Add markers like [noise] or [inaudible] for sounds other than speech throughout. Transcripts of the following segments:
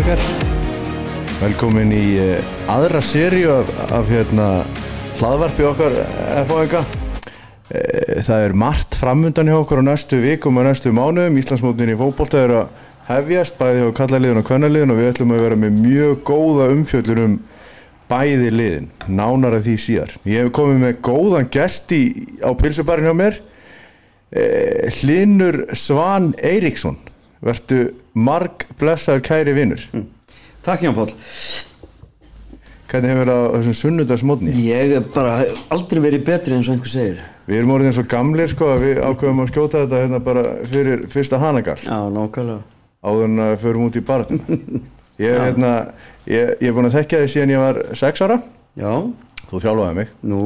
eh, velkomin í eh, aðra sériu af, af hérna, hlaðvarpi okkar eh, FONG Eh, Það er margt framundan hjá okkur á næstu vikum og næstu mánuðum Íslandsmótin í fótbolta er að hefjast bæði hjá kallaliðin og kvennaliðin og við ætlum að vera með mjög góða umfjöllur um bæði liðin nánar að því síðar Ég hef komið með góðan gest í, á pilsubarinn hjá mér eh, Hlinur Svan Eiríksson Vertu marg blessaður kæri vinnur Takk Jón Páll Hvernig hefur það á þessum sunnudagsmótni? Ég hef bara aldrei verið betri eins og einhver segir Við erum orðin svo gamlir sko að við ákveðum að skjóta þetta hérna bara fyrir fyrsta hanagall Já, nákvæmlega áður en að við förum út í baratuna. Ég er hérna, ég, ég er búin að þekkja þig síðan ég var sex ára. Já, Þú þjálfaði mig. nú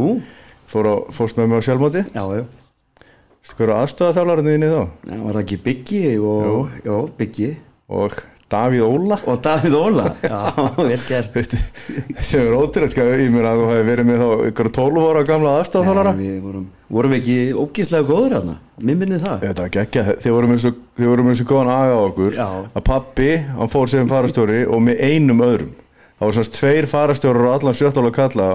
Fór á, fórst með mig á sjálfmóti. Já, já Skur á aðstöða þjálfarinu þinni þá. Já, Var það ekki Byggi og, já, Byggi Og Davíð Óla. Og Davíð Óla Já, [laughs] vel gert Veistu, [laughs] sem er ótrúlega í mér að þú hefði verið með þá ykkur 12 ára gamla aðstöða þjálfara. Já, Við vorum, vorum við ekki ógíslega góður hérna Mér minni það Þetta var geggja, þeir voru með svo, þeir voru með svo góðan aga á okkur Já. að pappi, hann fór sem farastjóri og með einum öðrum það voru svona tveir farastjórar og allan sjöttála kalla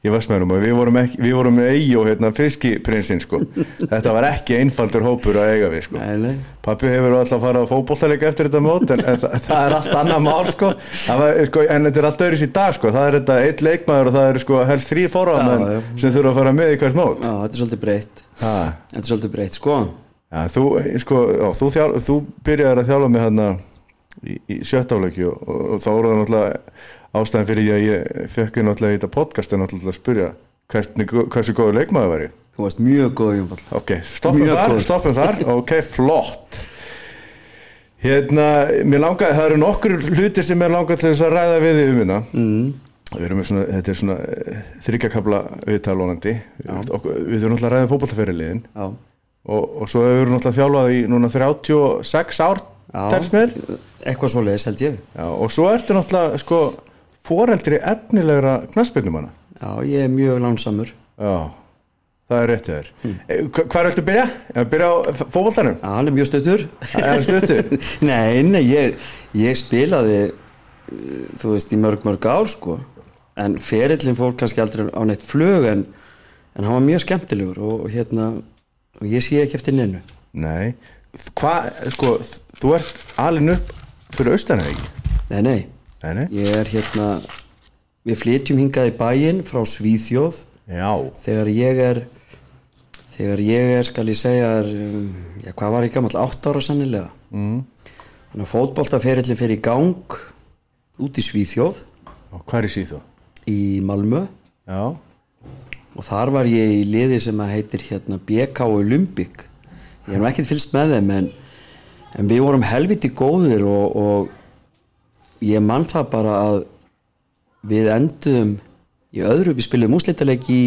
í Vestmennum og við vorum, ekki, við vorum með eigi og hérna, fiskiprinsinn sko. þetta var ekki einfaldur hópur að eiga við sko. Nei, nei Pappi hefur alltaf farið á fótbollaleika eftir þetta mót en, en það, það er allt annað mál sko. Það var, sko, en þetta er allt öðris í dag sko. það er þetta eitt leikmaður og það eru sko, helst þrý forraðamenn Já, já. sem þurfa að fara með í hvert mót Já, þetta er svolítið breytt ha. Þetta er svolítið breytt, sko Já, þú, sko, já, þú, þjál, þú byrjaðir að þjálfa mig hérna í, í sjött áleiki og, og, og þá voru það náttúrulega ástæðan fyrir því að ég fekk ég náttúrulega í þetta podcast en náttúrulega að spyrja hvernig, hversu góður leikmaður var ég. Þú varst mjög góð Jón Páll Ok, stoppum Mjög þar, góður. stoppum [laughs] þar, ok, flott. Hérna, mér langaði, það eru nokkur hlutir sem mér langaði til þess að ræða við þig um hérna. Mm. Við erum með svona, þetta er svona eh, þryggjakabla viðtalónandi. Við, okkur- við þurfum náttúrulega að ræða fótballtaferiliðin Já og, og svo hefur við náttúrulega þjálfað í núna 36 ár Já. telst mér Eitthvað svoleiðis held ég Já, og svo ertu náttúrulega sko foreldri efnilegra knassbyrnumanna Já, ég er mjög lánsamur Já, það er rétt hjá þér hmm. Hvað er eftir að byrja? Ég að byrja á fótboltanum? Já, hann er mjög stöttur [laughs] Það er stuttu Nei, nei, ég, ég spilaði uh, þú veist, í mörg, mörg ár sko en ferillin fór kannski aldrei á neitt flug en, en hann var mjög skemmtilegur og, og hérna, og ég sé ekki eftir neinu Nei, hvað, sko þú ert alin upp fyrir austan eða ekki? Nei, nei, Nei, nei ég er hérna við flytjum hingað í bæinn frá Svíþjóð Já, þegar ég er þegar ég er, skal ég segja er, um, já, hvað var ég gamall, 8 ára sannilega mm. þannig að fótboltaferillin fer í gang út í Svíþjóð og hvað er í síðu? í Malmö Já, og þar var ég í liði sem að heitir hérna BK Olympic ég hef nú ekkert fylst með þeim en, en við vorum helviti góðir og, og ég man það bara að við endum í öðru við spilum úslítaleg í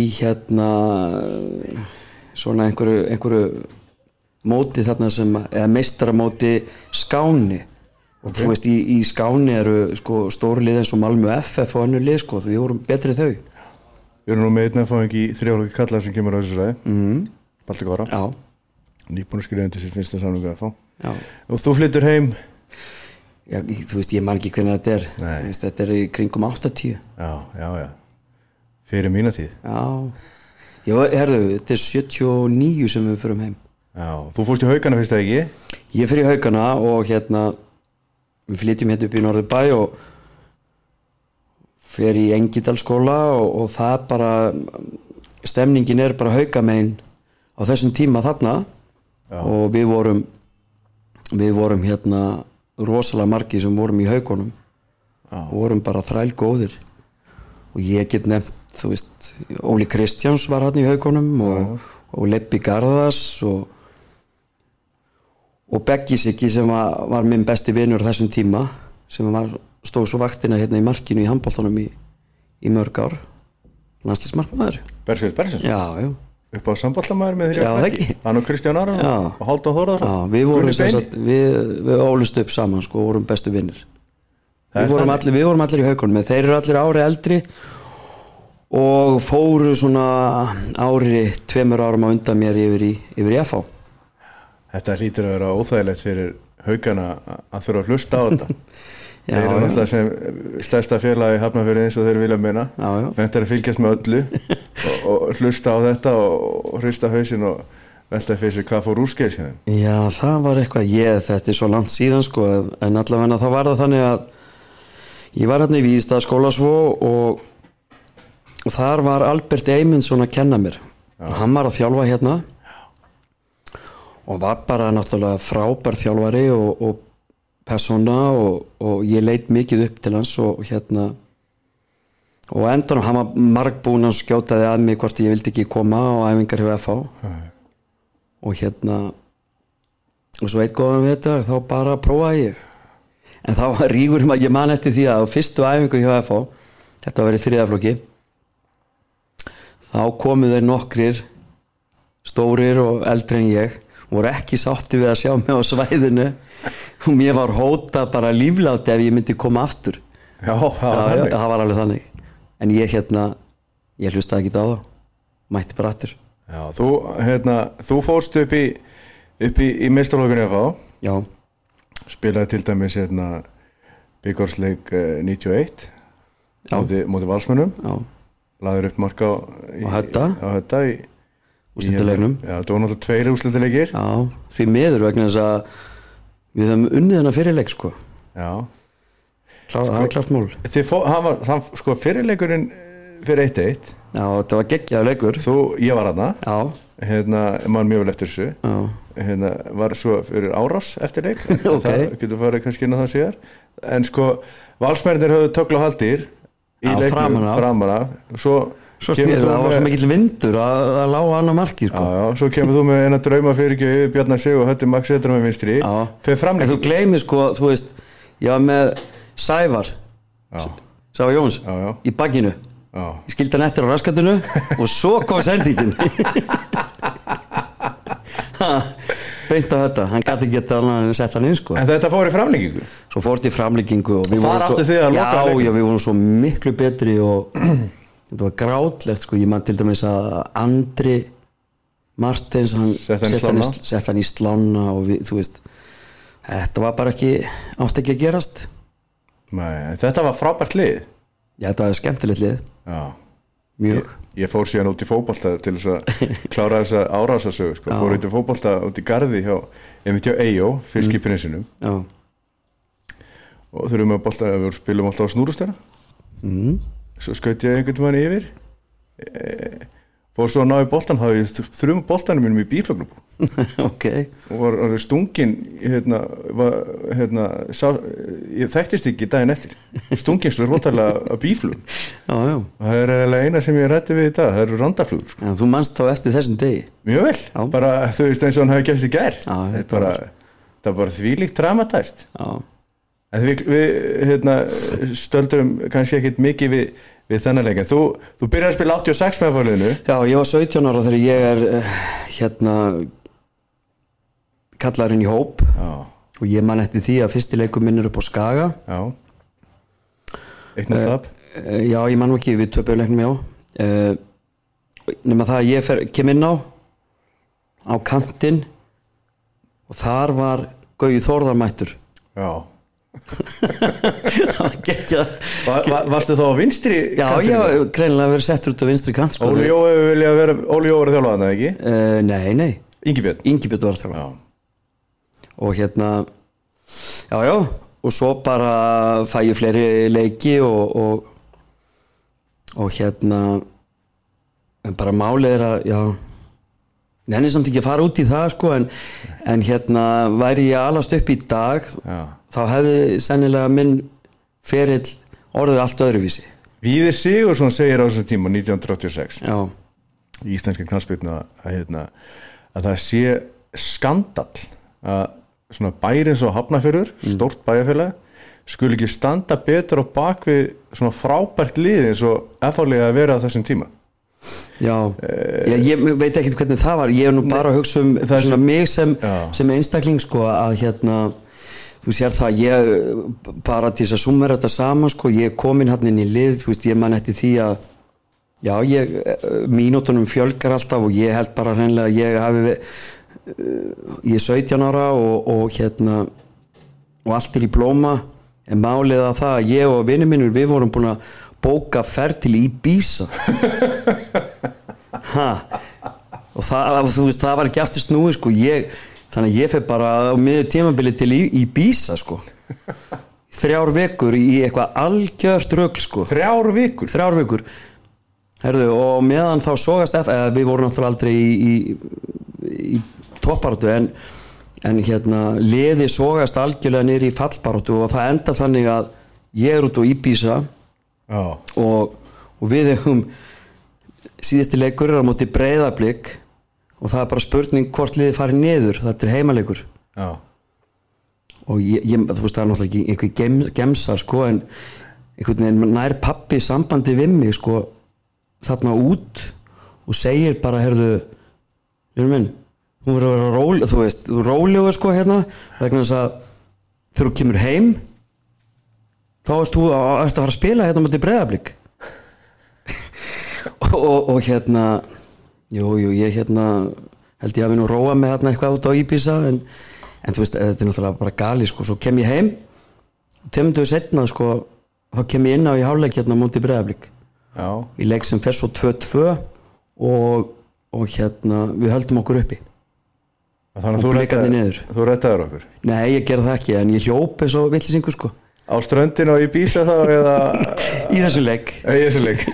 í hérna svona einhverju, einhverju móti þarna sem eða meistaramóti skáni og þú veist í, í skáni eru sko stórlið eins og Malmö FF og önnur lið sko því við vorum betri en þau við erum nú með einn að fá ekki þrjáleiki kallar sem kemur á þessu sæði mm -hmm. Balti Góra, Já, nýbúin að skrifa undir sér finnst það samlingu að fá já. Og þú flyttur heim já ég- þú veist, ég man ekki hvernig þetta er Nei. Þú veist, þetta er í kringum 80 Já, já, já Fyrir mína tíð Já, já herðu, þetta er 79 sem við förum heim Já, þú fórst í haugana fyrst eða ekki Ég fer í haugana og hérna við flytjum hérna upp í Norðurbæ og fer í Engidalskóla og, og það bara stemningin er bara haugamein á þessum tíma þarna og við vorum við vorum hérna rosalega margi sem vorum í haugunum og vorum bara þræl góðir og ég get nefnt þú veist, Óli Kristjáns var hann í haugunum og, og Leppi Garðas og og Beggi Siggi sem var, var minn besti vinur á þessum tíma sem var, stóð svo vaktina hérna í markinu í handbóltanum í, í mörg ár landslísmarkmaður Bersins, Bersins já, já, Upp á samballamæður með þér Já, það ekki. Hann og Kristján Aron Já. og Halldór Þóraðar já við vorum Gunni sem Steini. sagt, við, við ólust upp saman sko, og vorum bestu vinnir Það er við vorum, þannig. allir, við vorum allir í haugunum en þeir eru allir ári eldri og fóru svona ári, tveimur árum á undan mér yfir í, yfir í FH Þetta hlýtur að vera óþægilegt fyrir haugana að þurfa að hlusta á þetta þeir eru [laughs] já. náttúrulega sem stærsta félagi hafnafjörði eins og þeir vilja meina Já, já. ventar að fylgjast með [laughs] öllu og, og hlusta á þetta og, og hrista hausinn og velta fyrir sér hvað fór úrskeið síðan Já, það var eitthvað, ég, þetta er svo langt síðan sko, en- en allavega þá var það þannig að ég var hérna í Víðstað skóla svo og, og þar var Albert Eymundsson að kenna mér og hann var að þjálfa hérna og var bara náttúrulega frábær þjálfari og, og persóna og, og ég leit mikið upp til hans og hérna og á endanum hann var margbúinn að skjótaði að mig hvort ég vildi ekki koma á æfingar hjá FH og hérna og svo eitt góðan við þetta þá bara prófaði ég en þá var rígur maður, ég man eftir því að á fyrstu æfingu hjá FH þetta var verið þriðaflokki þá komu þeir nokkrir stórir og eldri en ég voru ekki sátti við að sjá mig á svæðinu og mér var hóta bara lífláti ef ég myndi koma aftur Já, það var já, já, þannig það var alveg þannig en ég hérna, ég hlustaði ekki á það mætti bara aftur Já, þú, hérna, þú fórst upp í upp í, í meistarlokunni að fá já, spilaði til dæmis hérna byggorsleik 91 Já. móti, móti valsmönnum já, laður upp marka á, í, Á Hödda. á hötta í, úrstættilegnum Já, það voru náttúrulega tveir úrslutileikir já, því miður vegna þess að við höfum unnið hennar fyrirleik sko Já, Klá, það var klart mál Þið fó, hann var, hann, sko fyrirleikurinn eh, fyrir 1-1 já, þetta var geggjaður leikur já, þú, ég var hana já, hérna, mann mjög vel eftir þessu hérna, var svo fyrir árás eftir [laughs] leik Ok. það getur farið kannski inn á það síðar en sko, valsmennir höfðu tögla haldir í Já, framan af. framan af svo, svo kemur stýðið, þú það var svo með- mikill vindur að, að lága annar markið Já, sko já, svo kemur þú með eina drauma fyrir ekki Bjarnar Sig og Hötti Max Eitra með vinstri já, fyrir en þú framleikur gleymir sko, þú veist ég var með Sævar já, Sævar Jóns, Já, já. í bakkinu já. ég skildi hann eftir á raskatinu og svo kom [laughs] sendingin Ha, beint á þetta hann gæti ekki geta annað en að setja hann inn sko En þetta fór í framleikingu svo fór þetta í framlíkingu og Og við þar vorum áttu þið að já, loka leiknum. já, við vorum svo miklu betri og [clears throat] þetta var grátlegt sko, ég man til dæmis að Andri Martins hann Setti hann í setti hann, slána. í- setti hann í slána og við, þú veist þetta var bara ekki, átti ekki að gerast Nei, Þetta var frábært lið já, þetta var skemmtilegt lið, Já mjög Ég fór síðan út í fótbolta til þess [laughs] að klára þessa árásasögu sko. fór út í fótbolta út í garði hjá, einmitt hjá Eyjó, Mm. fiskiprinsinum já, og þurfum að bolta, við spilum alltaf á snúrustæra mm. svo skaut ég einhvern veginn yfir e, fór svo að ná í boltan hafði ég þrjum boltanum mínum í bílflögnum [laughs] ok og var orðið stungin hérna, var, hérna sá, ég þekktist ekki daginn eftir stungin svo róttalega að bíflugum já, já, það er eiginlega eina sem ég rætti við í dag það eru randaflugur sko. en þú manst þá eftir þessum degi Mjög vel, Já. bara þú veist eins og hann hafi gert í gær Já, Þetta þetta er bara, það er bara þvílíkt dramatæst já, en við, við hérna, stöldurum kannski ekkit mikið við, við þennan leik en þú, þú byrjar að spila 86 með fólinu já, ég var 17 ára þegar ég er eh, hérna kallarinn í hóp Já, og ég man eftir því að fyrsti leikum minn er upp á Skaga já Eitt nú þab Eh, já, ég man nú ekki við töpuleiknum já Eh, nema það að ég fer, kem inn á á kantinn og þar var Gauði [laughs] Þórðarmættur Já, það gekkja va, va, varstu þá á vinstri já, ég var greinilega verið settur út á vinstri kant sko. Óli Jó hefur viljað vera, Óli Jó var þjálfaðan eða ekki? Eh, nei, nei, Ingi Björn Ingi Björn var þjálfari. Já, og hérna já, já, og svo bara fæ ég fleiri leiki og og, og hérna en bara málið er að já, nenni samt ekki að fara út í það sko, en, en hérna væri ég alast upp í dag já þá hefði sennilega minn ferill orðið allt öðruvísi Víðir Sigursson segir á þessum tíma 1986 já, í íslenska knarspilna að, hérna, að það sé skandall að svona bæri eins og hafnafjörður, Mm. stórt bæjarfélag skul ekki standa betur á bakvið svona frábært lið eins og efallega að vera á þessum tíma já já, ég veit ekki hvernig það var ég er nú bara að hugsa um það er svona mig sem, Já. sem einstakling sko að hérna þú sér það, ég eh, bara til þess að sumera þetta saman sko, ég er komin hann inn í lið, þú veist, ég man eftir því að já, ég, eh, mínútunum fjölgar alltaf og ég held bara hreinlega að ég hafi ve- eh, ég er 17 ára og, og hérna og allt er í blóma en málið að það að ég og vinnu minnur við vorum búin að bóka ferð til Ibiza ha og það, þú veist, það var ekki aftur snúi sko. ég, þannig að ég fer bara á miður tímabili til Í- Ibiza sko. þrjár vekur í eitthvað algjört rögl sko. Þrjár vikur þrjár vikur Herðu, og meðan þá sogast F eða, við vorum náttúrulega aldrei í, í, í topparatu en, en hérna, liði sogast algjörlega niður í fallbaratu og það enda þannig að ég er út á Íbísa Já, og, og við hefum síðusti leikur er á móti breyðablík og það er bara spurning hvort liði farið niður, þetta er heimaleikur já, og ég, ég, þú veist það er náttúrulega ekki einhver gem, gemsar sko en einhvern veginn nær pappi sambandi við mig sko þarna út og segir bara herðu Jörn minn, þú verður að vera róli þú veist, þú rólegur sko hérna vegna þess að þegar þú kemur heim þá ert þú að, ert að fara að spila hérna mútið breyðablík og, og, og hérna jú, jú, ég hérna held ég að við nú róa með þarna eitthvað út á Íbísa en, en þú veist, þetta er náttúrulega bara gali sko, svo kem ég heim tömdu setna sko þá kem ég inn á í hálæk hérna mútið breyðablík já í leik sem fer svo 2-2 og, og hérna við höldum okkur uppi Þannig Og að þú blikarnir niður. rettaðir- þú rettaður okkur nei, ég gerði það ekki, en ég hljóp eins og villisingu sko, Á ströndin og í bísa þá [laughs] eða í þessu leik Ég er svo leik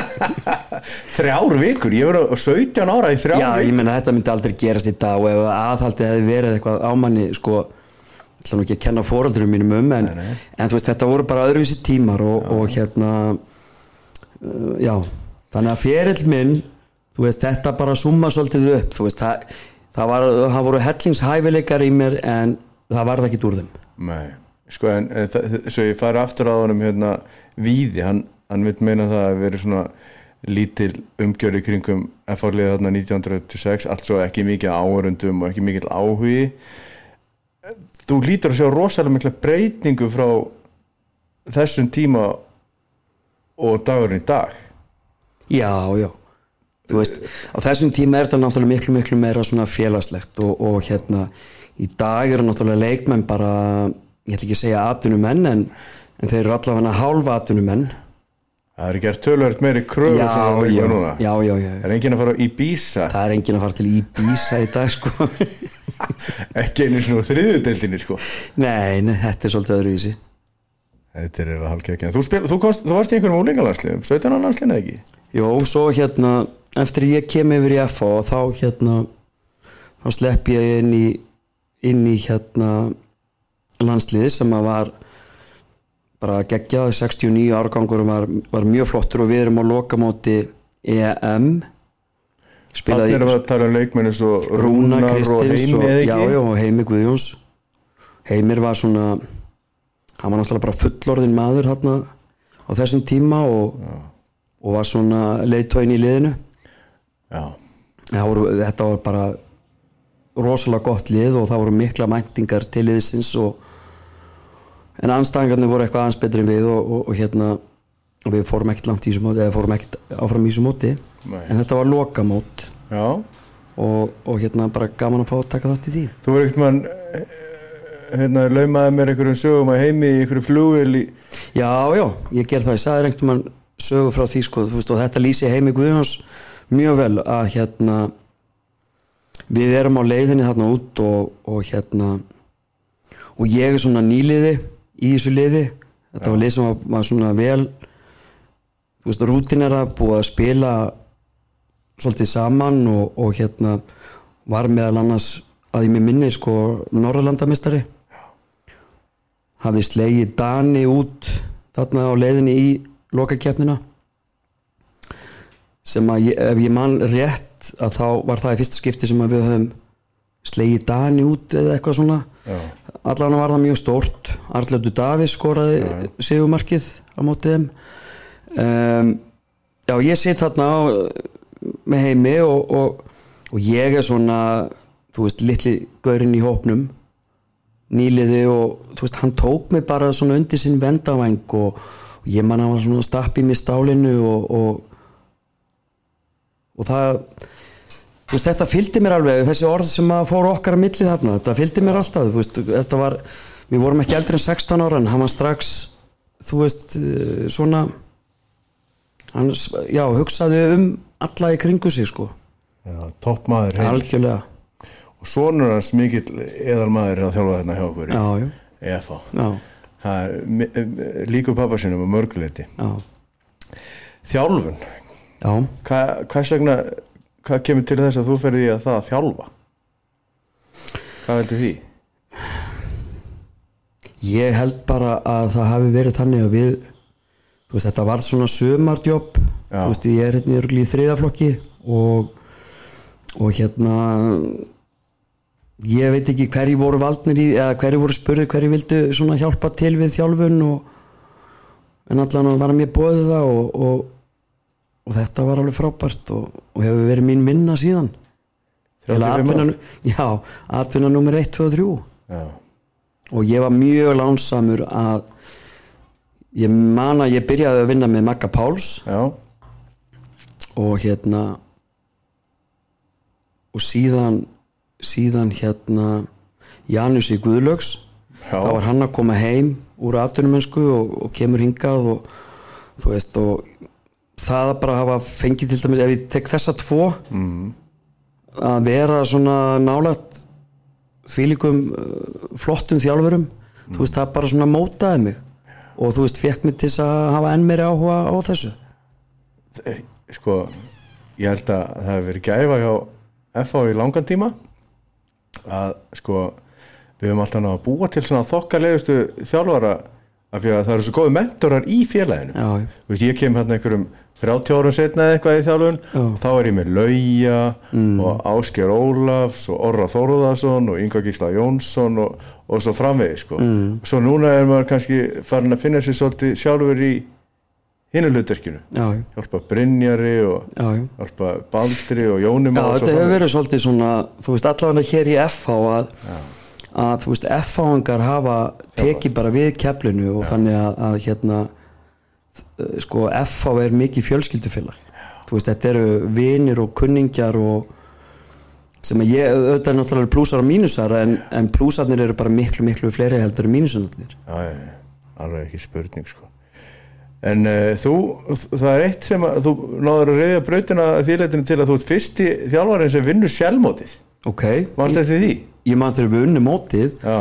[laughs] Þrjár vikur, ég verið 17 ára í þrjár Já, vikur ég meina þetta myndi aldrei gerast í dag og ef aðhaldið hefði verið eitthvað ámanni sko, ég ætla nú ekki að kenna fóraldurum mínum um en, en þú veist, þetta voru bara öðruvísi tímar og, og hérna uh, já, þannig að ferill minn þú veist, þetta bara summa svolítið upp, þú veist, það, það, var, það voru hellingshæfileikar í mér en það varð ekki úr þeim Nei, sko en e, þa- þa- svo ég fari aftur á honum hérna Víði, hann, hann vil meina það að verið svona lítil umgjörði kringum FH-liðið þarna 1986 allt svo ekki mikið áörundum og ekki mikið áhugi þú lítur að sjá rosalega mikla breytingu frá þessum tíma og dagurinn í dag Já, já Þú veist, á þessum tíma er þetta náttúrulega miklu, miklu meira svona félagslegt og, og hérna, í dag eru náttúrulega leikmenn bara, ég ætla ekki að segja atvinnumenn en, en þeir eru allavega hálfa atvinnumenn það er gert tölvöld meiri kröfu já, sem það er já, líka núna já, já, já, það er enginn að fara í bísa það er enginn að fara til Íbísa í dag sko [laughs] ekki einu svona þriðudeldinni sko Nei, nei, þetta er svolítið öðruvísi Þetta er eiginlega hálfkekja. Þú, spil, þú, komst, þú varst í einhverjum úlingalandsliðum, 17 landsliðin eða ekki? Jó, svo hérna eftir ég kem yfir í FH og þá hérna þá slepp ég inn í inn í hérna landsliði sem að var bara geggjað 69 árgangur var, var mjög flottur og við erum á lokamóti E EM Þannig erum við að tala um leikmenn eins og Rúnar og Kristins Heimi eða já, ekki? já, og Heimi Guðjóns Heimir var svona hann var náttúrulega bara fullorðin maður hérna á þessum tíma og, og var svona leiðtóin í liðinu Já, Það voru, þetta var bara rosalega gott lið og það voru mikla mæntingar til liðsins og, en anstæðingarnir voru eitthvað aðeins betri en við og, og, og hérna og við fórum ekkert langt í þessu móti eða fórum ekkert áfram í þessu móti Nei. en þetta var lokamót já. og, og hérna bara gaman að fá að taka þátt í því Þú verður ekkert mann, hérna, laumaði mér einhverjum sögum að Heimi í einhverju flugil í... Já, já, ég ger það, ég sagði reyngtum mann sögu frá því sko, þú veist, og þetta lýsi heimi Guðjóns mjög vel að hérna við erum á leiðinni þarna út og, og hérna og ég er svona nýliði í þessu liði, þetta var lið sem var, var svona vel þú veist, rútinera, búið að spila svolítið saman og, og hérna var meðal annars að ég með minni sko Norrlandamistari hafði slegið Dani út þarna á leiðinni í lokakeppnina sem að ég, ef ég man rétt að þá var það í fyrsta skipti sem að við höfum slegið Dani út eða eitthvað svona Já. allan var það mjög stórt Arlötu Davís skoraði sigumarkið á mótið þeim um, já ég sit þarna á, með heimi og, og, og ég er svona þú veist litli gaurinn í hópnum nýliði og þú veist, hann tók mig bara svona undir sinn vendavæng og, og ég man að hann var svona stapp í mig stálinu og og, og það þú veist, þetta fylgdi mér alveg þessi orð sem að fór okkar að milli þarna, þetta fylgdi mér alltaf, þú veist, þetta var við vorum ekki eldri en 16 ára en hann var strax þú veist eh, svona hann s- já, hugsaði um alla í kringu sig sko Já, toppmaður heim algjörlega Og sonur hans mikill eðalmaður er að þjálfa þarna hjá okkur í já, já, EFA já, Það er mi- eh, líkur pappa sinum að mörguleiti já, Þjálfun, já. Hva, hvers vegna hvað kemur til þess að þú ferði í að það að þjálfa? Hvað heldur því? ég held bara að það hafi verið þannig að við þú veist, þetta var svona sömardjobb Já. þú veist, ég er hérna örugglega í þriðaflokki og og hérna ég veit ekki hverju voru valdnir í eða hverju voru spurði hverju vildu svona hjálpa til við þjálfun og en allan var mér bóðið það og, og, og þetta var alveg frábært og, og hefur verið mín vinna síðan 35 Eiginlega atvinna- já, atvinna nummer 1, 2 og 3 Já, og ég var mjög lánsamur að ég man að ég byrjaði að vinna með Magga Páls já, og hérna og síðan síðan hérna Janus í Guðlögs Já. þá var hann að koma heim úr atvinnumennsku og, og kemur hingað og þú veist og það að bara hafa fengið til dæmis ef ég tek þessa tvo mm. að vera svona nálægt þvílíkum uh, flottum þjálfurum þú veist það bara svona mótaði mig og þú veist fekk mig til þess að hafa enn meiri áhuga á þessu Eh, sko ég held að það hefur verið gæfa hjá FH í langan tíma að sko við höfum alltaf náða að búa til svona þokkalegustu þjálfara af því að það eru svo góði mentorar í félaginu já, já. Þú veist, ég kem hérna einhverjum 30 árum setna eða eitthvað í þjálfun og þá er ég með Lauja Mm. og Ásker Ólafs og Orra Þórðarsson og Inga Gísla Jónsson og, og svo framvegis sko. mm. svo núna er maður kannski farin að finna sér svolítið sjálfur í hinu hlutverkinu já, já, hjálpa Brynjari og já, já. hjálpa Baldri og Jónum Já, og svo þetta hefur framvegis. verið svolítið svona, þú veist, allavega hér í FH að, að þú veist, FH-angar hafa tekið bara við keflinu og þannig að, að hérna, eh, sko, FH er mikið fjölskyldufélag. Þú veist, þetta eru vinir og kunningjar og sem að ég, auðvitað er náttúrulega plúsar og mínusar en, en plúsarnir eru bara miklu, miklu fleiri heldur en mínusarnir. Já, já, já, alveg ekki spurning sko en uh, þú, það er eitt sem að þú náður að reyða brautina að þýrleitinu til að þú ert fyrsti þjálfarinn sem vinnur sjálfmótið Ok, varst þetta því? ég man þegar við unnum mótið Já,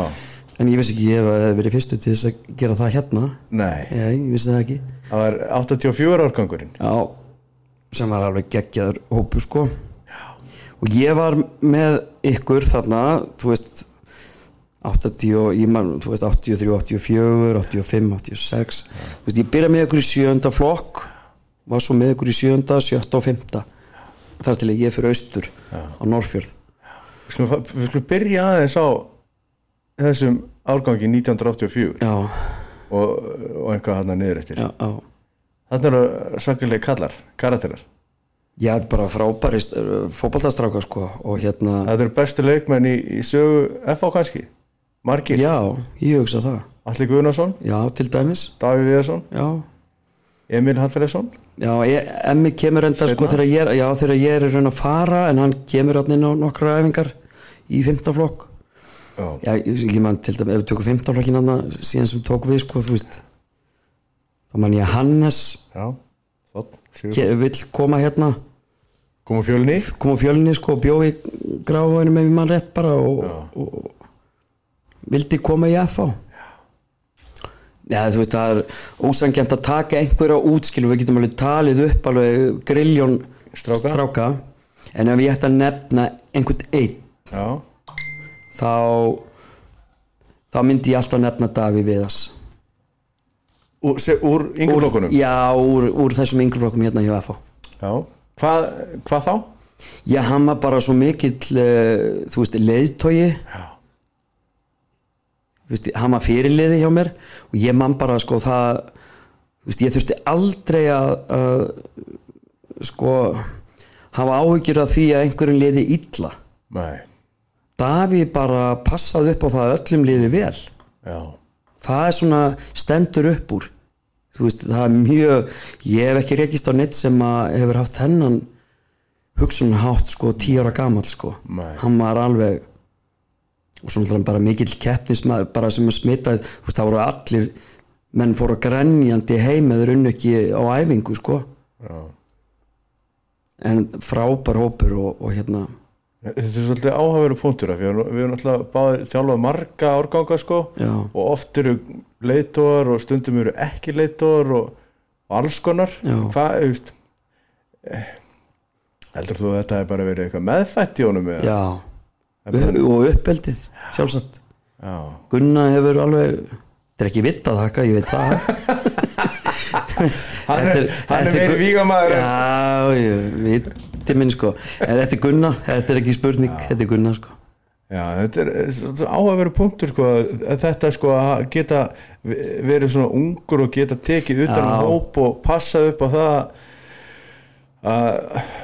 en ég vissi ekki ég hef verið fyrstu til þess að gera það hérna. nei, Ég, ég vissi það ekki. það var 84 árgangurinn Já, sem var alveg geggjaður hópu sko og ég var með ykkur þarna, þú veist 80, og- ég man, þú veist 83, 84, 85, 86 þú veist, ég byrja með ykkur í sjönda flokk var svo með ykkur í sjönda, sjötta og fymta þar til að ég fyrir austur á Norrfjörð við skulum, fa- við skulum byrja aðeins á þessum árgangi 1984 já, og, og einhvað hann niður eftir já, já þarna eru svakalega kallar, karakterar ég er bara frábæri fótballtastráka sko og hérna, Það eru bestu leikmenn í, í sögu FH kannski Margir, já, ég hugsa það Alli Guðnason, já, til dæmis, Davíð Viðarsson já Emil Hallfæðarsson Já, ég- Emmi kemur enda sko þegar ég, er- já, þegar ég er í raun að fara en hann kemur hann inn á nokkra æfingar í 15 flokk Já, Já, ég, ég man til dæmis, ef við tökum 15 flokkin hann síðan sem tók við sko, þú veist þá man ég að Hannes já Þótt, Sigur ke- vill koma hérna Komu fjölni koma á fjölinni sko og bjóði gráðinu með mann rétt bara og, og, og vildi koma í FH Já, þú veist, það er ósangjant að taka einhverja útskilu, við getum alveg talið upp alveg grilljón Stráka. en ef ég ætti að nefna einhvern einn, Já, þá þá myndi ég alltaf nefna Daví Viðas úr, se, úr úr, yngurlokkunum Já, úr, úr þessum yngurflokkum hérna hjá FH Já, hvað, hvað þá? Já, hann var bara svo mikill uh, þú veist, leiðtogi Já, Þú veist, hann var fyrirliði hjá mér og ég man bara sko það þú veist, ég þurfti aldrei að, að sko hafa áhyggjur af því að einhverjum liði illa nei, Daví bara passaði upp á það að öllum liði vel já það er svona stendur upp úr þú veist það er mjög ég hef ekki rekist á neitt sem að hefur haft hennan hugsunhátt sko tíu ára gamall sko Nei. hann var alveg og svo náttúrulega bara mikill keppnismæður bara sem að smita, þú veist, það voru allir menn fóru grænjandi heim eða runnu ekki á æfingu, sko Já. en frábær hópur og, og hérna Þetta er svolítið áhafveru punktur af því að við erum alltaf báðið þjálfað marga árganga sko Já. og oft eru leitóar og stundum eru ekki leitóar og, og alls konar Já. Hvað, þú veist eh, heldur þú að þetta hefur bara verið eitthvað meðfætt í honum eða? já, Upp- og uppeldið sjálfsagt, Já. Gunna hefur alveg þetta er ekki vitt að þakka, ég veit það [laughs] Hann er, hann er meiri Gu- vígamaður en- já, ég viti minn sko en þetta er Gunna, þetta er ekki spurning þetta er Gunna sko Já, þetta er áhafveru punktur sko, að þetta sko að geta verið svona ungur og geta tekið utan Já. um hóp og passað upp á það að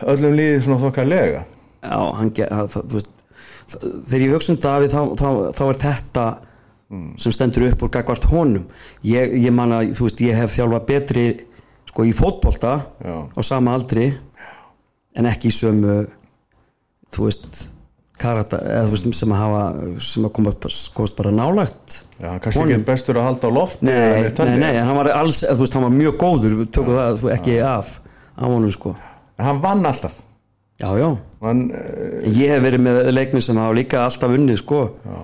öllum líði svona þokkalega já, hann, ge- það, það, þú veist það- þegar ég hugsa um Davíð þá, þá, þá er þetta sem stendur upp úr gagvart honum ég, ég man að, þú veist, ég hef þjálfað betri sko í fótbolta Já. á sama aldri en ekki í sömu þú veist karata, eða þú veist, sem að hafa sem að koma upp, skoðast bara nálægt Já, hann kannski ekki bestur að halda á lofti eða Nei, neitt nei, þannig. nei, en hann var alls, þú veist, hann var mjög góður, við tökum það þú, ekki af á honum, sko. En hann vann alltaf Já, já. hann, eh, Ég hef verið með leikmið sem hafa líka alltaf unnið, sko. Já.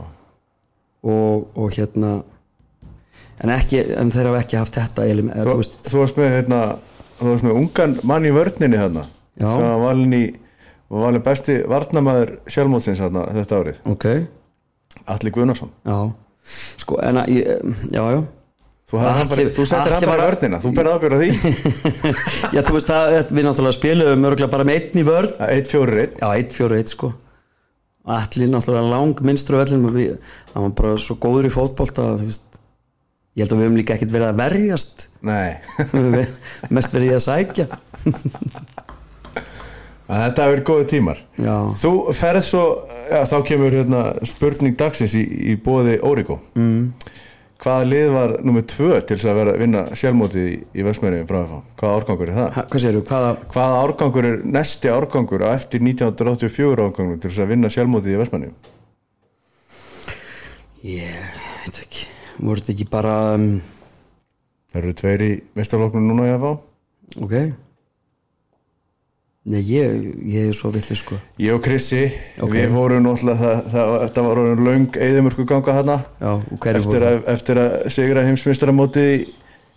Og, og hérna, en ekki, en þeir hafa ekki haft þetta, elim, eða, þú þú, veist, þú varst með hérna, þú varst með ungan mann í vörninni þarna Já. sem var valin í var valin besti varnamaður sjálfmótsins þarna þetta árið, ok, Alli Guðnarsson já. Sko, en að, ég, já, já. Þú, hafði hann bara, Atli- þú settir hann Atli bara í var- vörnina, þú berð ábjörð á því [laughs] Já, þú veist, það, við náttúrulega spilum örgulega bara með einn í vörn 1-4-1 Já, 1-4-1 sko Allir náttúrulega lang minnstur á vellinum og við- hann var bara svo góður í fótbolta þú veist. ég held að við höfum líka ekkert verið að verjast Nei, Við höfum [laughs] mest verið í að sækja En þetta hefur verið góði tímar Já, Þú ferð svo, ja, þá kemur hérna, spurning dagsins í, í bóði Óriko mm. Hvaða lið var nummið tvö til þess að vera, vinna sjálfmótið í, í Vestmjörnum frá FH? Hvaða árgangur er það? Ha, hvað séru, hvaða Hvaða árgangur er næsti árgangur á eftir 1984 árgangur til þess að vinna sjálfmótið í Vestmjörnum? ég veit ekki, voru þetta ekki bara um, Það eru tveir í mestarloknum núna í FH ok Nei, ég, ég er svo villið sko Ég og Krissi, Ok. við vorum náttúrulega það, það, þetta var orðin löng eðumörku ganga þarna Já, og hverju eftir voru að, eftir að sigra heimsmyndstaramótið í,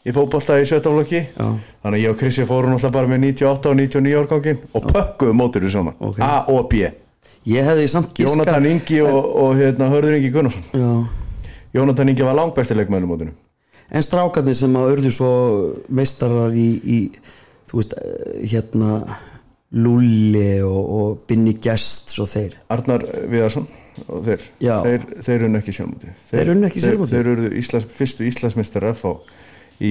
í fótbolta í sjötaflokki Já. þannig að ég og Krissi fórum alltaf bara með 98 og 99 árgangin og pökkuðum mótinu saman Ok. A og B Ég hefði samt giskað- Jónatan Ingi og, og hérna, Hörður Ingi Gunnarsson Já Jónatan Ingi var langbæsti leikmæður mótinu En strákarnir sem að urðu svo meistarar í, í þú veist, eh, hérna Lulli og, og Binni Gest og þeir. Arnar Viðarsson og þeir Já. þeir, þeir unnu ekki sjálfmóti Þeir unnu ekki sjálfmótið? þeir, þeir urðu Íslands, fyrstu Íslandsmyndstara FH í,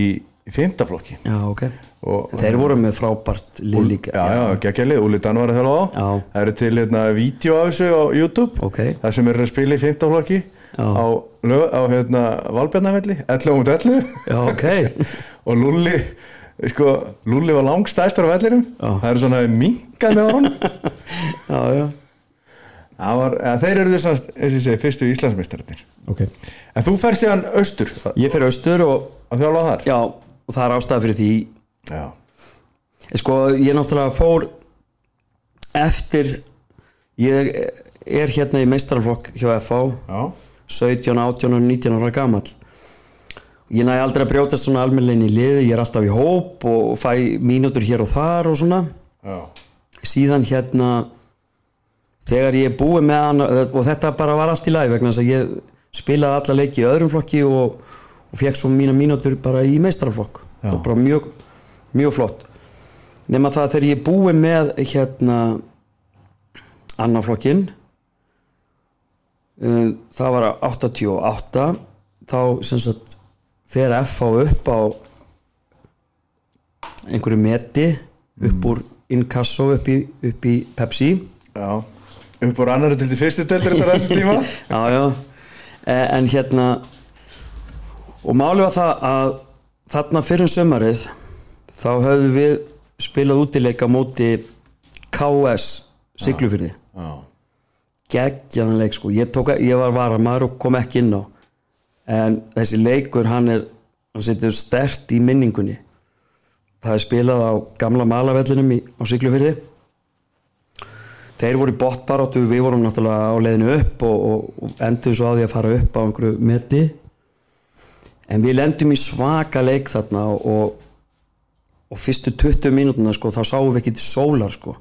í fymtaflokki Já, ok. og Þeir voru með frábært lið líka. Já, já, geggjalið, Úli Dan var að þjálfa á Já. Það eru til hérna vídeo af þessu á YouTube Ok. Það sem eru að spila í 15 flokki Já. á, lög, á hérna Valbjarnafelli 11 mútið 11 Já, ok. og Lulli sko, Lulli var langstæstur á vellinum Já. það eru svona minkað með honum [laughs] já, já. Það var, eða, þeir eru þess að, eins og ég segi, fyrstu Íslandsmeistararnir Ok. En þú fer síðan austur að Ég fyrir austur og, að þjálfa þar já, og það er ástæða fyrir því. Já. Sko, ég náttúrulega fór eftir, ég er hérna í meistaraflokk hjá FH Já. 17, 18 og 19 ára gamall ég næ aldrei að brjóta svona almennilegin í liði, ég er alltaf í hóp og fæ mínútur hér og þar og svona Já. síðan hérna þegar ég er búið með hann og þetta bara var allt í lagi vegna þess að ég spilaði alla leiki í öðrum flokki og, og fekk svo mína mínútur bara í meistraflokk Já. það var bara mjög, mjög flott nema það þegar ég er búið með hérna annaflokkin um, það var 88 þá sem sagt þegar F á upp á einhverju meti upp úr inkasso upp í, upp í Pepsi Já. Upp úr annari til því fyrstu deltir þetta er þessu tíma já, já. Eh, en hérna og máli var það að þarna fyrir sömarið þá höfðum við spilað útileika á móti KS Siglufyrði Já. geggjaðan leik sko. ég, tók, ég var varamaður og kom ekki inn á en þessi leikur hann er hann situr stert í minningunni það er spilað á gamla malavellinum í, á Siglufyrði þeir voru í botbaróttu við vorum náttúrulega á leiðinu upp og, og, og endum svo á því að fara upp á einhverju meti en við lendum í svaka leik þarna og, og, og fyrstu 20 mínútuna sko, þá sáum við ekki til sólar sko.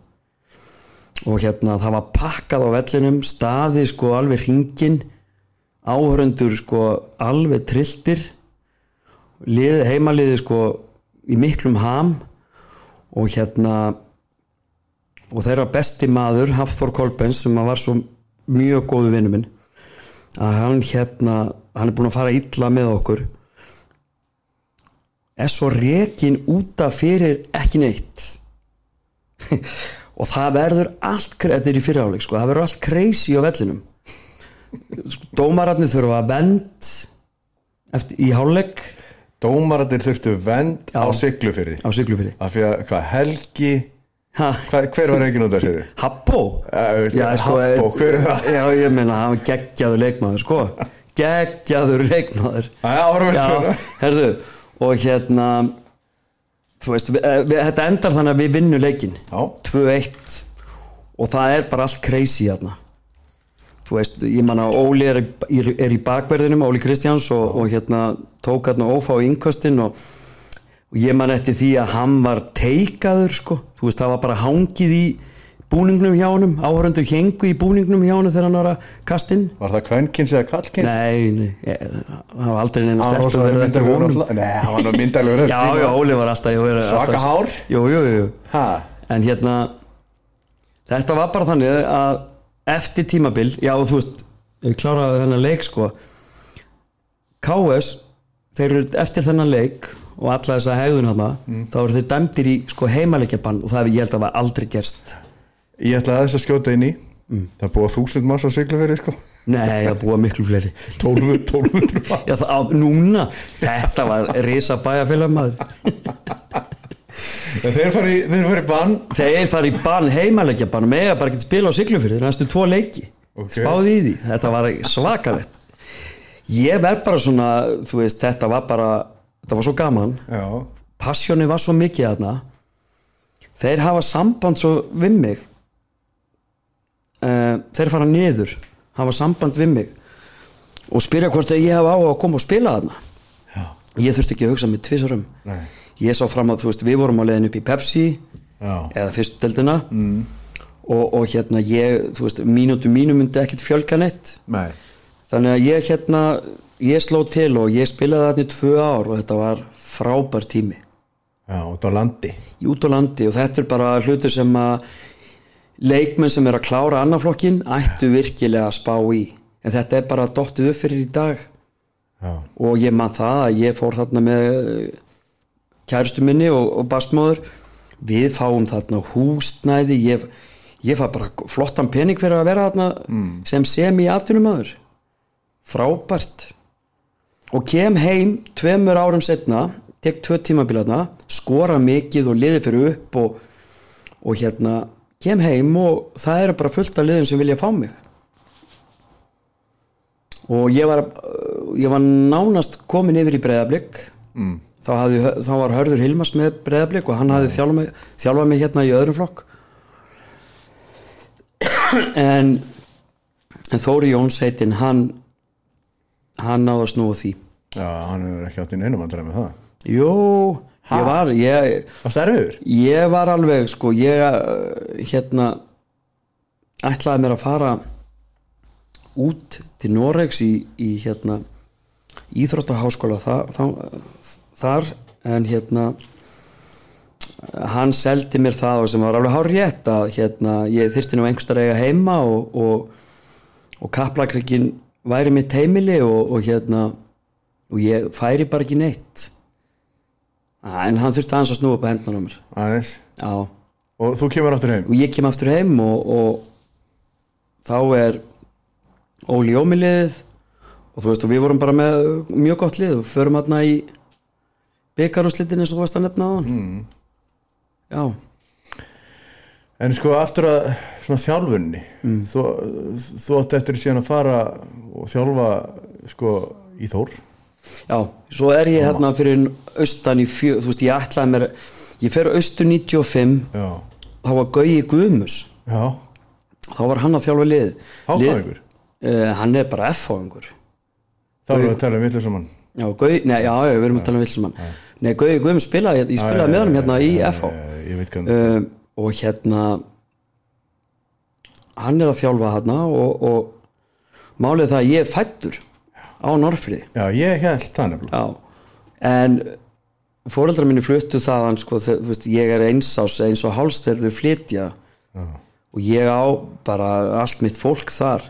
og hérna það var pakkað á vellinum staði sko alveg hringin áhörundur sko alveg trilltir liði, heimaliði sko í miklum ham og hérna og þeirra besti maður Hafþór Kolbens sem að var svo mjög góðu vinnu minn að hann hérna hann er búin að fara illa með okkur er svo rekin útaf fyrir ekki neitt og það verður allt þetta er í fyrirháleik sko, það verður allt crazy á vellinum sko, dómararnir þurfa að vend eftir, í háleik Dómaratir þurftu vend á siglufyrði á Siglufyrði Af því að hvað helgi Ha, hva, Hver var engin út af þessu? Habbo? Eh, sko, Habbo, hver er það? Já, ég meina, hann var geggjaður leikmaður sko, [laughs] geggjaður leikmaður Æja, ára með Já, þessu herðu, og hérna þú veist, við, eh, við, þetta endar þannig að við vinnum leikinn Já. 2-1 og það er bara allt crazy hérna þú veist, ég manna Óli er, í- er, er í bakverðinum, Óli Kristjáns og, og hérna tók hérna ófá í innkostin og, og ég man eftir því að hann var teikaður sko, þú veist, það var bara hangið í búningnum hjá honum, áhörundur hengu í búningnum hjá honum þegar hann var að kastinn Var það kvenkins eða kallkins? Nei, nei, ég, það var aldrei neina hann var stelpur svo verið eftir myndalegur honum náttúrulega. Nei, hann var nú [laughs] myndalegur eftir Já, tíma. já, Óli var alltaf ég var Svaka alltaf- hár. Jú, jú, jú Ha, En hérna, þetta var bara þannig að eftir tímabil Já, og þú veist, ég kláraði þennan leik sko KS, þeir eru eftir þennan leik og alla þessa hegðun hana Mm. þá eru þeir dæmdir í sko heimaleikjabann og það hefur ég held að var aldrei gerst Ég ætla aðeins að skjóta inn í Mm. Það búa þúsund manns á siglufyrði [laughs] sko Nei, það búa miklu fleiri 12 1200 [laughs] manns Já, það, á, núna, þetta var risa bæjarfélagmaður En Þeir fari, þeir fari bann Þeir fara í bann, heimaleikja bann mega bara ekki spila á siglufyrir næstu tvo leiki Ok. spáði í því, þetta var svakalett ég verð bara svona þú veist, þetta var bara þetta var svo gaman, Já, passjóni var svo mikið þarna þeir hafa samband svo við mig Eh, þeir fara niður hafa samband við mig og spyrja hvort að ég hafa á að koma og spila þarna já, ég þurfti ekki að hugsa mig tvisarum Nei. ég sá fram að þú veist, við vorum á leiðin upp í Pepsi já eða fyrstu deildina og, og hérna ég, þú veist, mínútu mínu myndi ekkit fjölga neitt Nei þannig að ég hérna, ég sló til og ég spilaði þarna í tvö ár og þetta var frábær tími Já, út á landi í út á landi og þetta er bara hlutur sem að leikmenn sem er að klára annaflokkin ættu virkilega að spá í en þetta er bara dottið upp fyrir í dag Já, og ég man það að ég fór þarna með eh, kærustu minni og, og bastmóður við fáum þarna húsnæði ég, ég fá bara flottan pening fyrir að vera þarna sem sem í atvinnumöður frábært og kem heim tveimur árum setna tek tvö tímabilarna, skora mikið og liði fyrir upp og, og hérna kem heim og það eru bara fullt af liðin sem vilja fá mig og ég var, uh, ég var nánast komin yfir í breyðablík mm. þá, hafði, þá var Hörður Hilmas með breyðablík og hann hafði þjálfað mig, þjálfað mig hérna í öðrum flokk en, en Þóri Jóns heitinn hann hann náða snúa því já hann hefur ekki átt í neinum andræmi með það Jó, ég var ég, Það er auður ég var alveg sko, ég eh, hérna ætlaði mér að fara út til Noregs í, í hérna íþróttaháskóla þar, þar en hérna hann seldi mér það og sem var alveg hár rétt að hérna ég þyrsti nú einhverstað eiga heima og, og, og kaplakrikin væri mitt heimili og, og hérna og ég færi bara ekki neitt Ah, en hann þurfti aðeins að snúa upp að hendunum á mér Aðeins Já, og Og þú kemur aftur heim ég kem aftur heim og, og þá er Óli Jómiliðið og þú veist og við vorum bara með mjög gott lið og förum hérna í byggarúslitin eins og þú varst að nefna á hann mm. Já, En sko aftur að svona þjálfunni þú, þú átt eftir síðan að fara og þjálfa sko í Þór Já, svo er ég hérna fyrir austan í fjö, þú veist, ég ætlaði mér ég fer austur 95 Já, þá var Gauji Guðmus já, þá var hann að þjálfa lið hákvæðingur uh, Hann er bara F-fáingur Þá erum við að tala um villu saman Já, Gauji, nei, já, já, við erum að tala um Vilsumann Nei, Gauji Guðmus spilaði, ég spilaði með hann hérna í F-fá Eh, Ég veit hvað uh, og hérna hann er að þjálfa hérna og, og málið er það að ég er fættur á Norfriði Já, ég held það nefnilega Já, en fóreldrar minni fluttu þaðan sko, þegar, þú veist, ég er eins ás eins og háls þegar þau flytja og ég á bara allt mitt fólk þar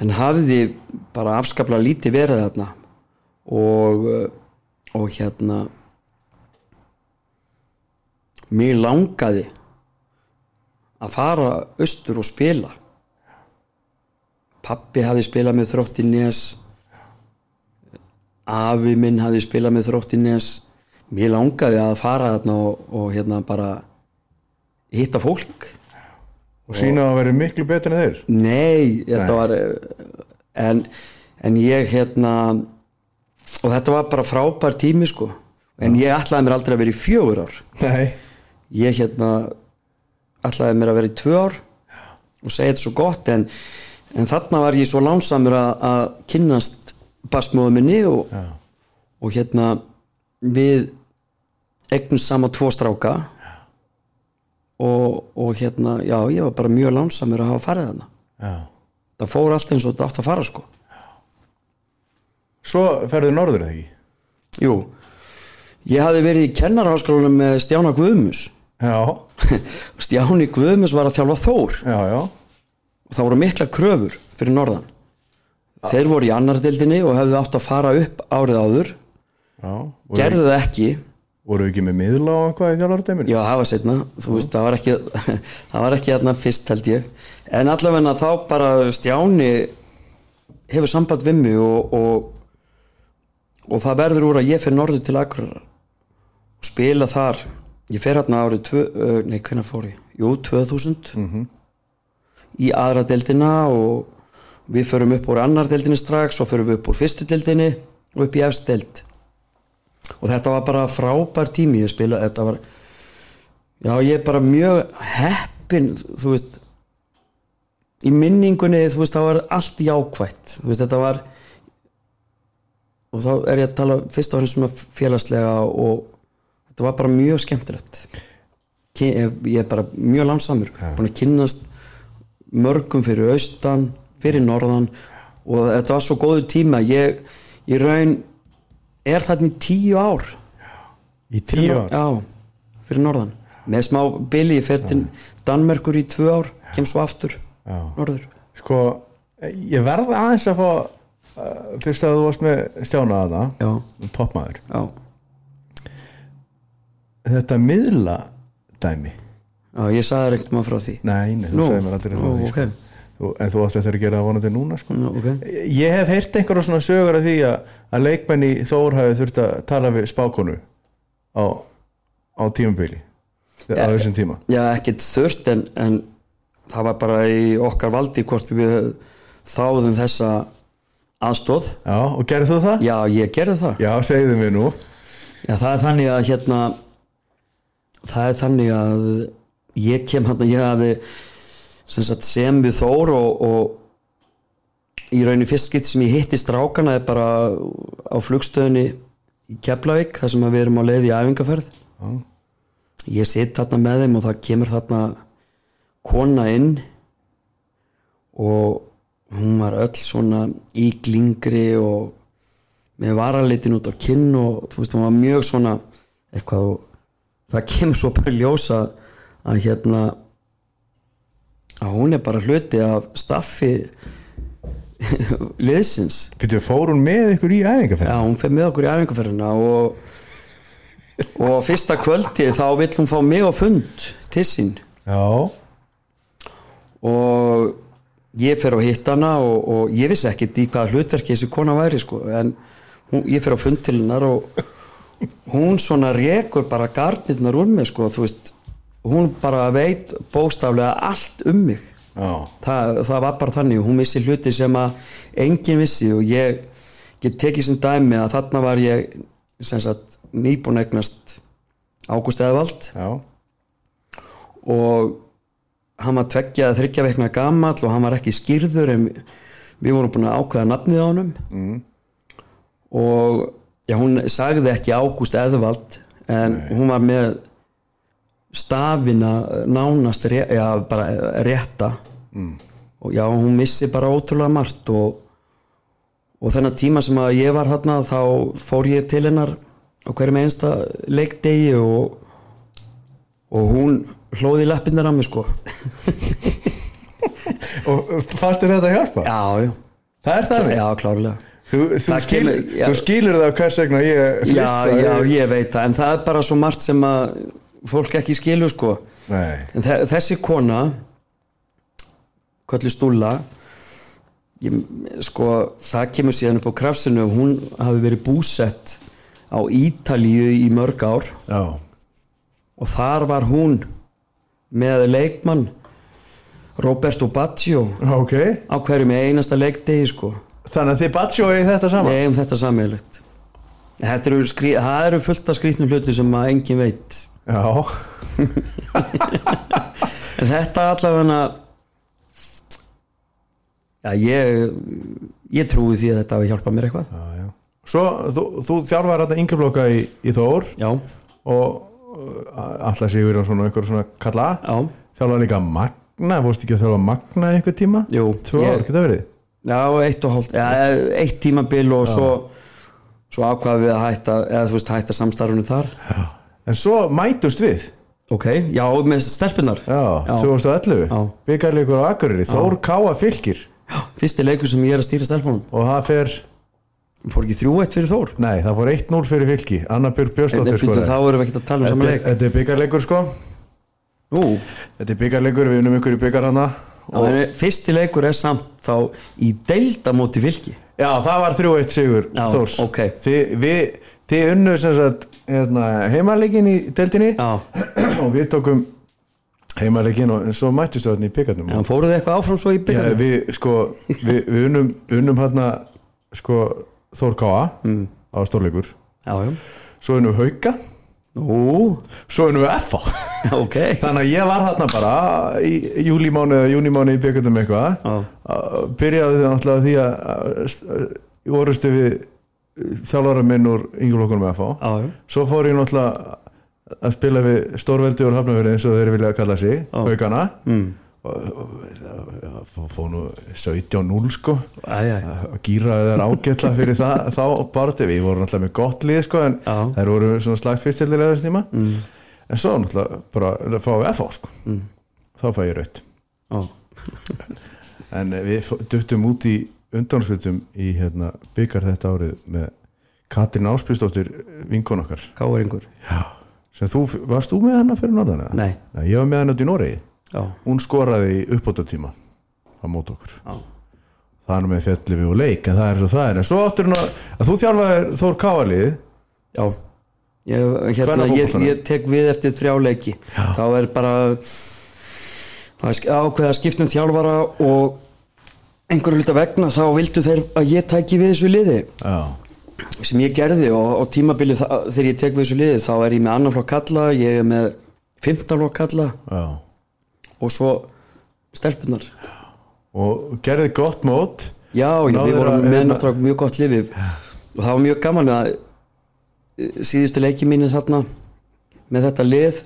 en hafði bara afskaplega lítið verið þarna og, uh, og hérna mér langaði að fara austur og spila pappi hafði spilað með þrótti nes afi minn hafði spilað með þróttines mér langaði að fara þarna og, og hérna bara hitta fólk Og sína að vera miklu betur en þeir nei, þetta var en, en ég hérna og þetta var bara frábær tími sko en ég ætlaði mér aldrei að vera í fjögur ár Nei, ég hérna ætlaði mér að vera í tvö ár og segja þetta svo gott en, en þarna var ég svo lánsamur að, að kynnast basmóðu minni og, og hérna við egnum sama tvo stráka og, og hérna já ég var bara mjög lánsamur að hafa farið þarna já það fór allt eins og þetta átt að fara sko Svo ferðu norður eða ekki jú ég hafði verið í kennarháskólanum með Stjána Guðmus Já, Stjáni Guðmus var að þjálfa Þór já, já og það voru mikla kröfur fyrir norðan þeir voru í annar dildinni og hefðu átt að fara upp árið áður Já, voru, gerðu það ekki voru ekki með miðla og eitthvað í þjálfardeiminu? já, það var setna, þú veist, það var ekki [laughs] það var ekki þarna fyrst held ég en allavega þá bara Stjáni hefur samband við mig og, og og það verður úr að ég fer norður til Akureyrar og spila þar ég fer hérna árið tvö, ö, nei, hvenær fór ég? Jú, 2000 í aðra deildina og við förum upp úr annar deildinni strax og förum við upp úr fyrstu deildinni og upp í efst deild og þetta var bara frábær tími ég spila, þetta var já, ég er bara mjög heppin þú veist í minningunni, þú veist, það var allt jákvætt, þú veist, þetta var og þá er ég að tala fyrst og fremst svona félagslega og þetta var bara mjög skemmtilegt Ki- ég ég er bara mjög lánsamur búin að kynnast mörgum fyrir austan, fyrir norðan og þetta var svo góðu tíma ég, ég raun er þarna í tíu ár Í tíu ár? já, fyrir norðan með smá bili, ég fer til Danmerkur í tvö ár, kem svo aftur Já. norður Sko, ég verði aðeins að fá uh, fyrst að þú varst með stjána að já, það toppmaður já, þetta miðla dæmi já, ég sagði þér ekkert maður frá því nei, nei, þú Nú, segir mér aldrei frá nú, því, sko. ok. Þú- en þú átti eftir að gera það vonandi núna sko. Nú, ok ég hef heyrt einhverja svona sögur af því að, að leikmenn í Þór hafi þurft að tala við spákonu á, á tímabili á þessum tíma Já, ekkert þurft en, en það var bara í okkar valdi hvort við þáðum þessa aðstóð. já, og gerðu þú það? Já, ég gerði það. já, segðu mér nú Já, það er þannig að hérna það er þannig að ég kem hann ég hafi sem, sagt, sem við Þór og, og í rauninu fyrst skipt sem ég hitti strákana er bara á flugstöðunni í Keflavík þar sem að við erum á leið í æfingaferð Já. ég sitt þarna með þeim og það kemur þarna kona inn og hún var öll svona íglingri og með varalitin út á kinn og þú veist, hún var mjög svona eitthvað og það [laughs] kemur svo bara í ljós að, að hérna að hún er bara hluti af staffi [laughs] liðsins Býttu, fór hún með ykkur í æfingarferð? Já, hún fer með okkur í æfingarferðina og, og á fyrsta kvöldi þá vill hún fá mig á fund til sín Já. og ég fer á hitt hana og, og ég vissi ekkert í hvaða hlutverki þessi kona væri sko en hún, ég fer á fund til hennar og hún svona rekur bara garnirnar úr mig sko þú veist hún bara veit bóstaflega allt um mig já, það, það var bara þannig hún vissi hluti sem að enginn vissi og ég get tekið sem dæmi að þarna var ég sem sagt nýbúin að eignast Ágúst Eðvald já, og hann var tveggja að þryggja veikna gamall og hann var ekki skýrður en við vorum búin að ákveða nafnið á honum mm. og já, hún sagði ekki Ágúst Eðvald en hún var með stafina nánast ré, já, bara rétta mm. og já, hún missi bara ótrúlega margt og, og þennan tíma sem að ég var hérna þá fór ég til hennar á hverjum einsta leikdegi og, og hún hlóði lappinnar á mig sko og fannst þér þetta hjálpa? já, já, það er þannig, já, klárlega þú, þú, Það skil, kemur- já. þú skilur það hvers vegna ég já, flissa já, ég veit það en það er bara svo margt sem að fólk ekki skilur sko Nei, En þe- þessi kona köllu stúla ég, sko, það kemur síðan upp á krafsinu hún hafi verið búsett á Ítalíu í mörg ár já, og þar var hún með leikmann Roberto Baggio ok á hverjum einasta leikdegi sko þannig að þið batsjói þetta saman Nei, um þetta sammeðilegt Þetta eru, skrí, það eru fullt af skrýtnum hluti sem að engin veit já, En þetta allavega Já, ég ég trúi því að þetta hafi hjálpað mér eitthvað já, já. svo þú, þú þjálfar þetta yngjaflokka í, í Þór Já, og alltaf sigur og svona einhver svona kalla já, þjálfar líka Magna, fórstu ekki að þjálfa Magna einhver tíma? Jú, Tvö ég- ár, geta verið? já, eitt og hálft Já, eitt tímabil og svo svo ákvaðum við að hætta eða þú veist, hætta samstarfinu þar Já. En svo mætust við Ok, já, með stelpunar Já, Já. 2011 Já. byggarleikur á Akureyri, Þór Káa Fylkir Fyrsti leikur sem ég er að stýra stelpunum og það fer, Fór ekki þrjú eitt fyrir Þór nei það fór 1-0 fyrir Fylki Anna Björg Nei, Björnsdóttir býttu, skoraði. Þá erum við ekki að tala um Þetta saman er- leik Þetta er byggarleikur sko Nú, Þetta er byggarleikur, við unum ykkur í byggar hana Já, en fyrsti leikur er samt þá í deilda móti fylki Já, það var 3-1 sigur Já, Þórs ok. Þið, við, þið unnu sem sagt hérna, heimaleikin í deltinni Já, [clears throat] og við tókum heimaleikin og en svo mættist það í byggarnum en fóruð þið eitthvað áfram svo í Já, byggjum? við sko við, við unnum, unnum hérna sko Þór Káa mm. á stórleikur Já, já svo unnum við Hauka Nú, svo unnum við FA ok [laughs] þannig að ég var þarna bara í júlímánu eða júnímánu í byggandum eitthvað Já. Að- byrjaði það náttúrulega því að- að í orustu við þjálfara minn úr yngjulokkunum með FA Já, já. svo fór ég náttúrulega að spila við stórveldi úr hafnafjörði eins og þeir vilja kalla sig, haugana mm. og, og, og, og fór nú 17-0 sko Æ, æ, að gýra þeir ágætla fyrir það, þá barði við vorum alltaf með gott lið sko, en Já. þær voru svona slagt fyrstildir eða þessum tíma mm. en svo náttúrulega bara fá við FH sko. þá fæ ég raut já en eh, við f- duttum út í undanslutum í hérna, byggar þetta árið með Katrin Áspjösdóttir vinkon okkar Káringur Já. sem þú, varst þú með hana fyrir norðan? eða? Nei. Nei, ég var með hana út í Noregi Já, hún skoraði í uppbótartíma á mót okkur já, það er nú með fjalli við og leik en það er svo það er en svo áttur hún að, að þú þjálfaði Þór Káalið já. Ég, hérna, ég, Kvennafótboltanum. ég tek við eftir þrjá leiki já. Þá er bara það er sk- ákveða skiptum þjálfara og einhverju hluta vegna þá vildu þeir að ég tæki við þessu liði já, sem ég gerði og, og tímabili það, þegar ég tek við þessu liði þá er ég með annan flokk kalla, ég er með 15 flokk kalla já. og svo stelpunar og gerði gott mót já, já Náður við vorum að- með hérna- náttúrulega mjög gott lifi og það var mjög gaman að e, síðustu leiki mínir þarna með þetta lið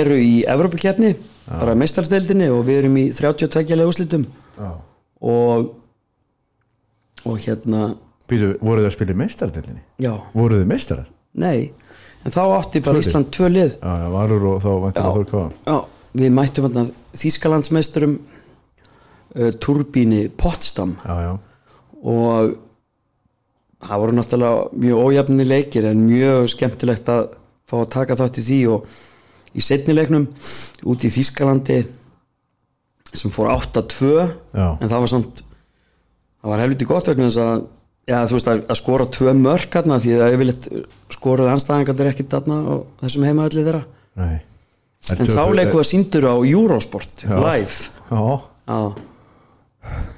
eru í Evrópukefni bara meistarsteldinni og við erum í 32 lega úrslitum og og hérna Býtu, voruð þið að spila í meistardelinni? já, voruð þið meistarar? nei en þá átti Tvö bara lið. Ísland tvö lið já, já, varur og þá vantilega Þór Káa já, við mættum hérna Þískalandsmeisturum uh, Turbíni Potsdam já, já, og það voru náttúrulega mjög ójafni leikir en mjög skemmtilegt að fá að taka þátt í því og í setni leiknum út í Þískalandi sem fór 8-2 Já. en það var samt það var helviti gott vegna þess að Já, þú veist, að, að skora tvö mörk hérna því að yfirleitt skoraði anstæðingarnir ekkert þarna og þessum heimaðalli þeirra nei Þær en þá töpuðu- leikum við síndur á Eurosport live Já, á,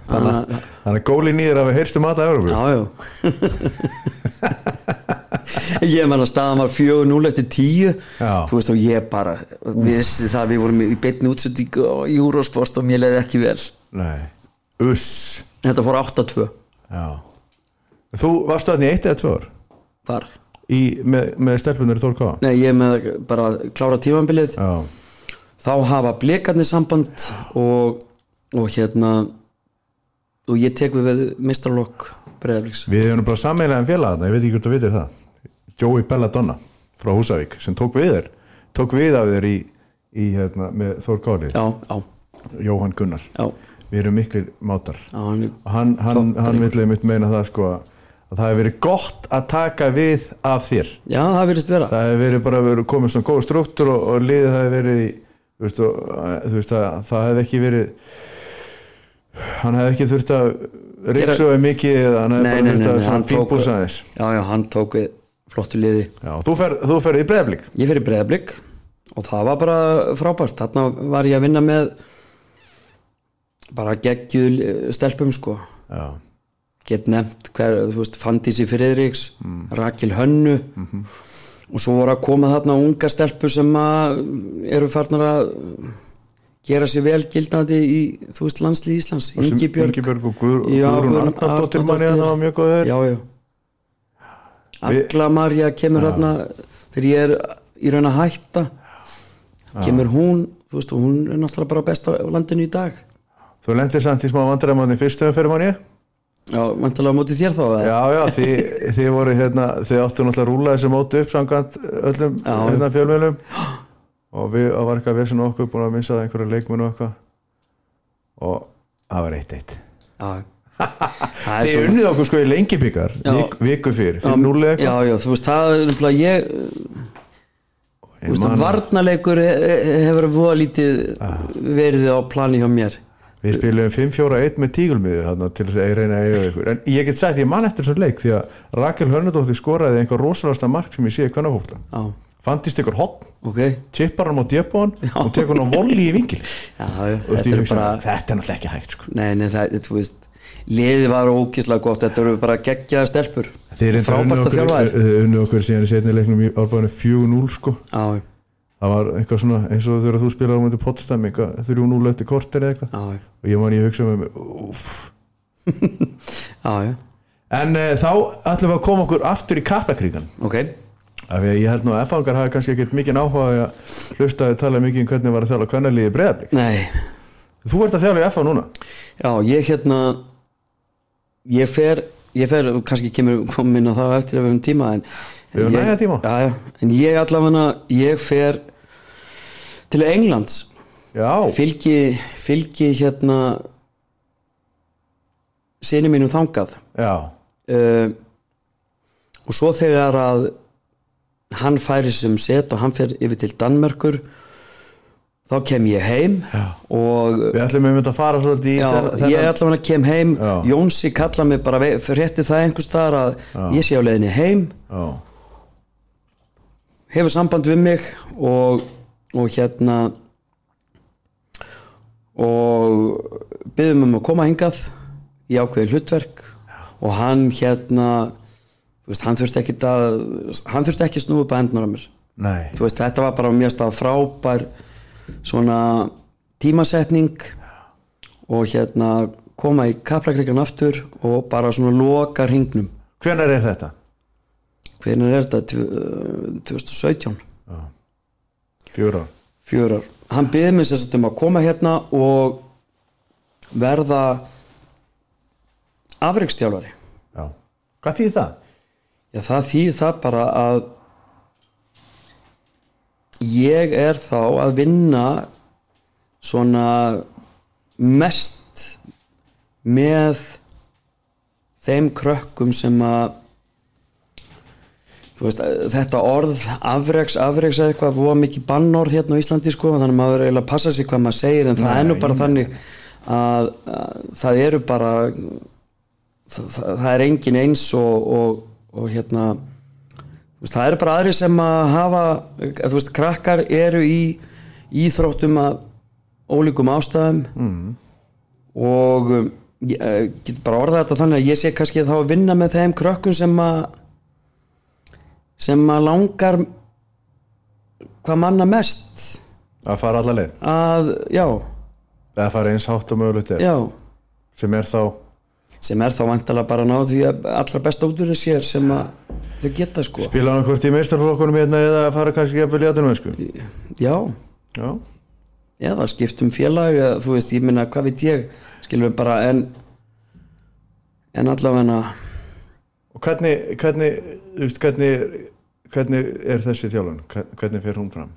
þannig að- þannig að góli nýður að við heyrstum að það Európu já, já [laughs] ég menna staðan var 4-0 eftir 10 Já. þú veist og ég bara vissi það við vorum í beinni útsettingu á Eurosport og mér leiði ekki vel Nei, uss þetta fór 8-2 Já Þú varstu þarna í eitt eða tvö ár þar í, með, með stelpunar í Þórká Nei, ég er með bara að klára tímambilið Já, þá hafa blekarnir samband og, og hérna og ég tek við við mistralokk breyðafliks við hefum bara sammeilagðan félag þarna, ég veit ekki hvort þú vitir það Joey Belladonna frá Húsavík sem tók við þér tók við af þér í, í hérna, með Þórkáli, já, já, Jóhann Gunnar já, Við erum miklir mátar já hann, og hann, hann, hann villið mitt meina það sko að að það hefur verið gott að taka við af þér já, það virðist vera það hefur verið bara verið komið svona góð struktúr og, og liðið það hefur verið í, þú veist, og, að- þú veist að það hefði ekki verið hann hefði ekki þurft að ríksuðu mikið eða hann hefði Nei, bara nei, þurft nei, að nei, hann svona tók- fínbúsa aðeins já, já, hann tók við flottu liði Já, þú fer, þú fer í breyðablík ég fyrir breyðaflik og það var bara frábært þarna var ég að vinna með bara geggjuð eh, stelpum sko Já, get nefnt hver, þú veist, Fandísi Friðriks Rakel Hönnu og svo voru að koma þarna unga stelpur sem að eru farnar að gera sér vel gildandi í, þú veist, landslið Íslands Ingibjörg, Ingibjörg og Guður, Já, Guðrún Guðrún Arnardóttir manni að Arnardóttir. það var mjög góður já, já Agla Marja kemur þarna þegar ég er í raun að hætta kemur hún, þú veist, og hún er náttúrulega bara besta á landinu í dag Þú lendir samt í smá vandræðmanni fyrstu en fyrir manni já, vantarlega á móti þér þá eða? Já, já, þið, þið voru hérna þið áttu náttúrulega að rúla þessu móti upp samkvæmt öllum Já. hérna fjölmjölum og við og var eitthvað vesinu okkur búin að missa einhverja leikmennu og eitthvað og það var eitt eitt [laughs] já. Það er Þið svona- unnið okkur sko í lengi byggar Já. vik, viku fyrir, Já, fyrir núlega já, eitthvað já, þú veist, það er nefnilega ég þú veist, man- varnarleikur he- he- hefur voða lítið verið á plani hjá mér Við spilum 5-4-1 með tígulmiðu þarna til þess að ég reyna að eiga ykkur en ég get sagt, ég man eftir þessum leik því að Rakel Hönnudóttir skoraði einhver rosalasta mark sem ég séði hvernig fólta já, Fandist ykkur hotn, ok já, tippar hann á djöpun og tekur hann á volli í vingil já, Þú veist, þetta ég er hugsa, bara þetta er náttúrulega ekki hægt sko. nei, nei, það, þú veist liðið var ókíslega gott, þetta eru bara geggjaða stelpur frábært að þjálfa þér já, Þeir unnu okkur síðan í setni leiknum í árbæðinu 4-0 sko. já, Það var eitthvað svona eins og þegar þú spilar á mæti pottstam 3-0 eftir kortir eða eitthvað já, já, og ég man ég hugsa með mér úff. já, já, En e, þá ætlum við að koma okkur aftur í kappakríkan ok af því að ég held nú að F-fangar hafi kannski ekkert mikið áhuga á því að hlusta að tala mikið um hvernig var að þjála kvennaliði breyðablik nei, Þú ert að þjála í F-fang núna já, ég hérna ég fer ég fer, kannski kemur komin á það eftir ef við höfum tíma en, en Við höfum ég- nægan tíma. já, já, en ég allavega, ég fer til Englands Já, fylgi, fylgi hérna sinni mínum þangað já, uh, og svo þegar að hann færi sem set og hann fer yfir til Danmerkur þá kem ég heim og við ætlum einmitt að fara svolítið í já, þennan- ég þennan- allavega kem heim Já. Jónsi kalla mig bara ve- frétti það einhvers þar að ég sé á leiðinni heim Já. hefur samband við mig og, og hérna og byggðum um að koma hingað í ákveðið hlutverk og hann hérna þú veist, hann þurfti ekki að hann þurfti ekki að snúið upp að hendunar á mér Nei, Þú veist, þetta var bara mjög stað frábær svona tímasetning og hérna koma í kaplakreikan aftur og bara svona loka hringnum hvenær er þetta? hvernig er þetta Tv- 2017 Fjóra ár fjör ár hann byði mér sérst um að koma hérna og verða afreikstjálfari Já. Hvað þýðir það? já það þýð það bara að ég er þá að vinna svona mest með þeim krökkum sem að þú veist, þetta orð afreks, afreks er eitthvað voða mikið bannorð hérna á Íslandi sko þannig að maður verður eiginlega að passa sig hvað maður segir en það er nú bara þannig að, að það eru bara það, það, það er engin eins og, og, og hérna þú veist, það eru bara aðri sem að hafa þú veist, krakkar eru í íþróttum að ólíkum ástæðum og um, ég eh, get bara orðað þetta þannig að ég sé kannski þá að vinna með þeim krökkum sem að sem að langar hvað manna mest að fara alla leið að, já, eða fara eins hátt og mögulegt er já sem er þá sem er þá vantalega bara að ná því að allra besta út úr þess sér sem að þau geta sko spila hann hvort í meistarflokkunum hérna eða að fara kannski jafnvel í atvinnumönsku já, já, eða skiptum félag eða, þú veist, ég minna, hvað veit ég skilum við bara en en allavega og hvernig hvernig, þú veist, hvernig hvernig er þessi þjálun hvernig fer hún fram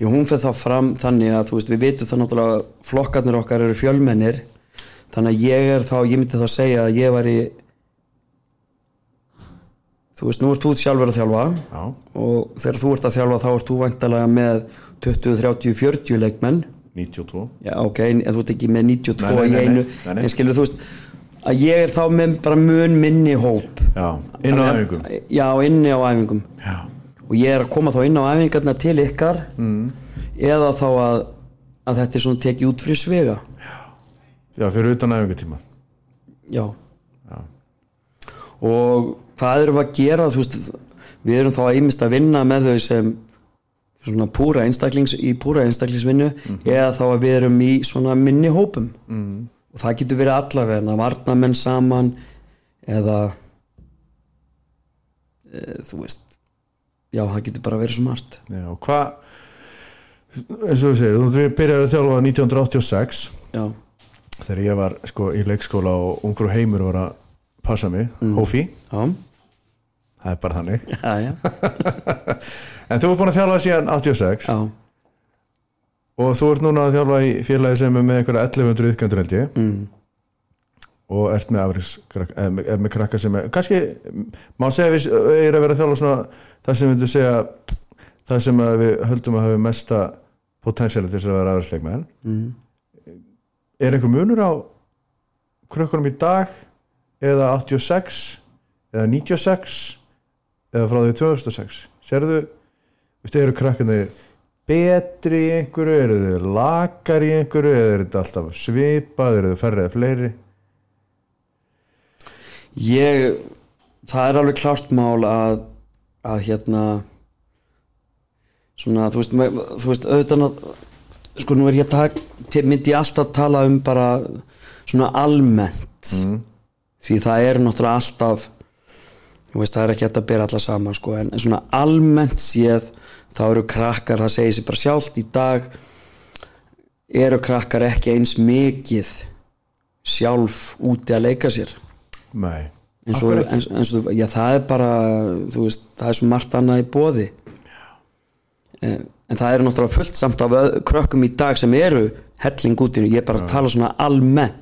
Jú, hún fer þá fram þannig að þú veist, við vitum það náttúrulega að flokkarnir okkar eru fjölmennir þannig að ég er þá, ég myndi þá segja að ég var í þú veist, nú ert þú sjálfur að þjálfa já, og þegar þú ert að þjálfa þá ert þú væntalega með 20, 30, 40 leikmenn 92 já, ok, en þú ert ekki með Nei, nei, 92 nei, í einu, nei, nei. en skilur þú veist að ég er þá með bara mun minni hóp já, inn á æfingum já, inni á æfingum já, og ég er að koma þá inn á æfingarna til ykkar mm. eða þá að, að þetta er svona tekið út fyrir svega já, fyrir utan æfingutíma já. og hvað erum við að gera þú veist, við erum þá einmist að vinna með þau sem svona púra einstaklings í púra einstaklingsvinnu eða þá að við erum í svona minni hópum mm. og það getur verið allavega varnamenn saman eða e, þú veist já það getur bara verið svo margt já, og hvað eins og þú segir, þú byrjar að þjálfa 1986 já, þegar ég var sko í leikskóla og ungur og heimur var að passa mig, Hófi, já, það er bara þannig já, já. en þú ert búin að þjálfa síðan 86 Já, og þú ert núna að þjálfa í félagi sem er með einhverja 1100 yðkendur held ég mm. og ert með, afriks, eða, með- eða með krakka sem er kannski, má segja að við er að vera að þjálfa svona það sem við segja það sem að við höldum að hafi mesta potensiál til þess að vera aðeinsleikmenn mm. er einhver munur á krökkunum í dag eða 86 eða 96 eða frá því 2006 serðu, veistu, eru krakkarnir betri í einhverju, eru þau lakar í einhverju, eða eru þetta alltaf svipað, eru þau færri eða fleiri ég það er alveg klart mál að að hérna svona, þú veist, ma- þú veist auðvitað ná- sko nú er ég að taka til- myndi ég alltaf tala um bara svona almennt því það er náttúrulega alltaf þú veist, það er ekki hægt að bera alla saman sko, en en svona almennt séð þá eru krakkar, það segir sér bara sjálft í dag eru krakkar ekki eins mikið sjálf úti að leika sér Nei, eins og, eins, eins og þú- já, það er bara þú veist, það er svo margt annað í bóði en, en það eru náttúrulega fullt samt af öð- krökkum í dag sem eru helling út í ég er bara að tala svona almennt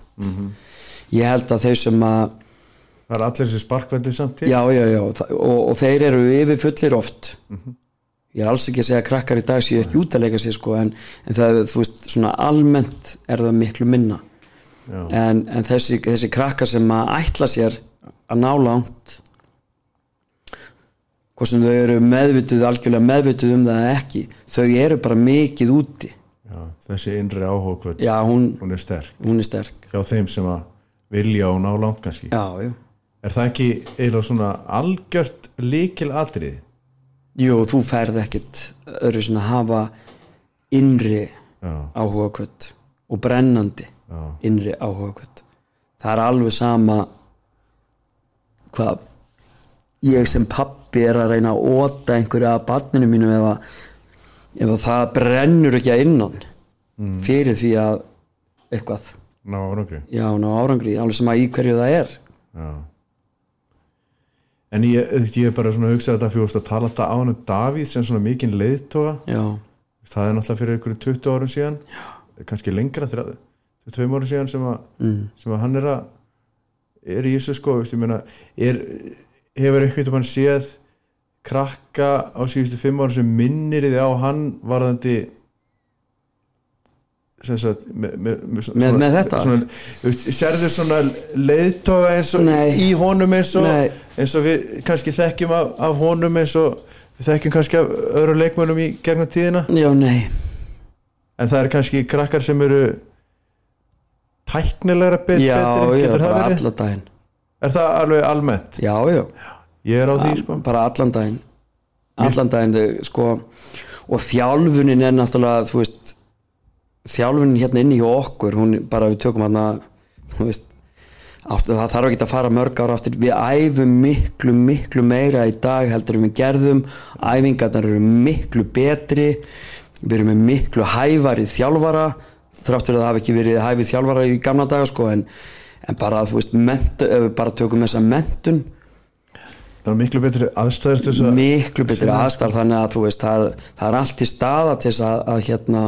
ég held að þau sem að það er allir þessi sparkveldi samt til já, já, já, þa- og, og þeir eru yfir fullir oft ég er alls ekki að segja að krakkar í dag séu ekki út að leika sér sko, en, en það, þú veist, svona almennt er það miklu minna Já. en, en þessi, þessi krakkar sem að ætla sér að ná langt hvort sem þau eru meðvituð algjörlega meðvituð um það eða ekki þau eru bara mikið úti Já, þessi innri áhókvöld, já, hún, hún er sterk hún er sterk hjá þeim sem að vilja og ná langt kannski já, já Er það ekki eiginlega svona algjört líkil atrið? Jú, þú færð ekkit öðru sinna að hafa innri Já. áhugakvöld og brennandi Já. innri áhugakvöld. Það er alveg sama hvað ég sem pappi er að reyna að óta einhverju að barninu mínu ef að, ef að það brennur ekki að innan Mm. fyrir því að eitthvað, Ná árangri já, ná árangri, alveg sama í hverju það er. Já. En ég, ég er bara svona að hugsa þetta fyrir að tala þetta á hann Davíð sem svona mikinn leiðtoga Já, það er náttúrulega fyrir einhverjum 20 árum síðan já. kannski lengra 30 22 árum síðan sem, a, Mm. sem að hann er að er í þessu sko veist, ég meina, er, hefur eitthvað mann séð krakka á síðustu 5 árum sem minnir þið á hann varðandi sem sagt með, með, með, svona, Með- með þetta? svona, þú veist, sérðu svona leiðtoga eins og Nei. í honum eins og, Nei. eins og við kannski þekkjum af, af honum eins og við þekkjum kannski af öðru leikmönnum í gegnum tíðina já, nei, en það er kannski krakkar sem eru tæknilegra bet, já, betri, já, getur það bara verið? allan daginn Er það alveg almennt? já, já, Ég er á því sko bara allan daginn allan daginn, eh, sko og þjálfunin er náttúrulega þú veist, þjálfunin hérna inni hjá okkur, hún bara við tökum hérna þú veist átt- það þarf ekki að fara mörg ára aftur við æfum miklu, miklu meira í dag heldur en við gerðum æfingarnar eru miklu betri við erum með miklu hæfari þjálfara þráttur að það hafi ekki verið hæfið þjálfara í gamla daga sko en, en bara þú veist ment, ef við bara tökum þessa mentun Það er miklu betri aðstæðist þess að miklu betri aðstæðar þannig að þú veist það er, það er allt í staða til þess að, að hérna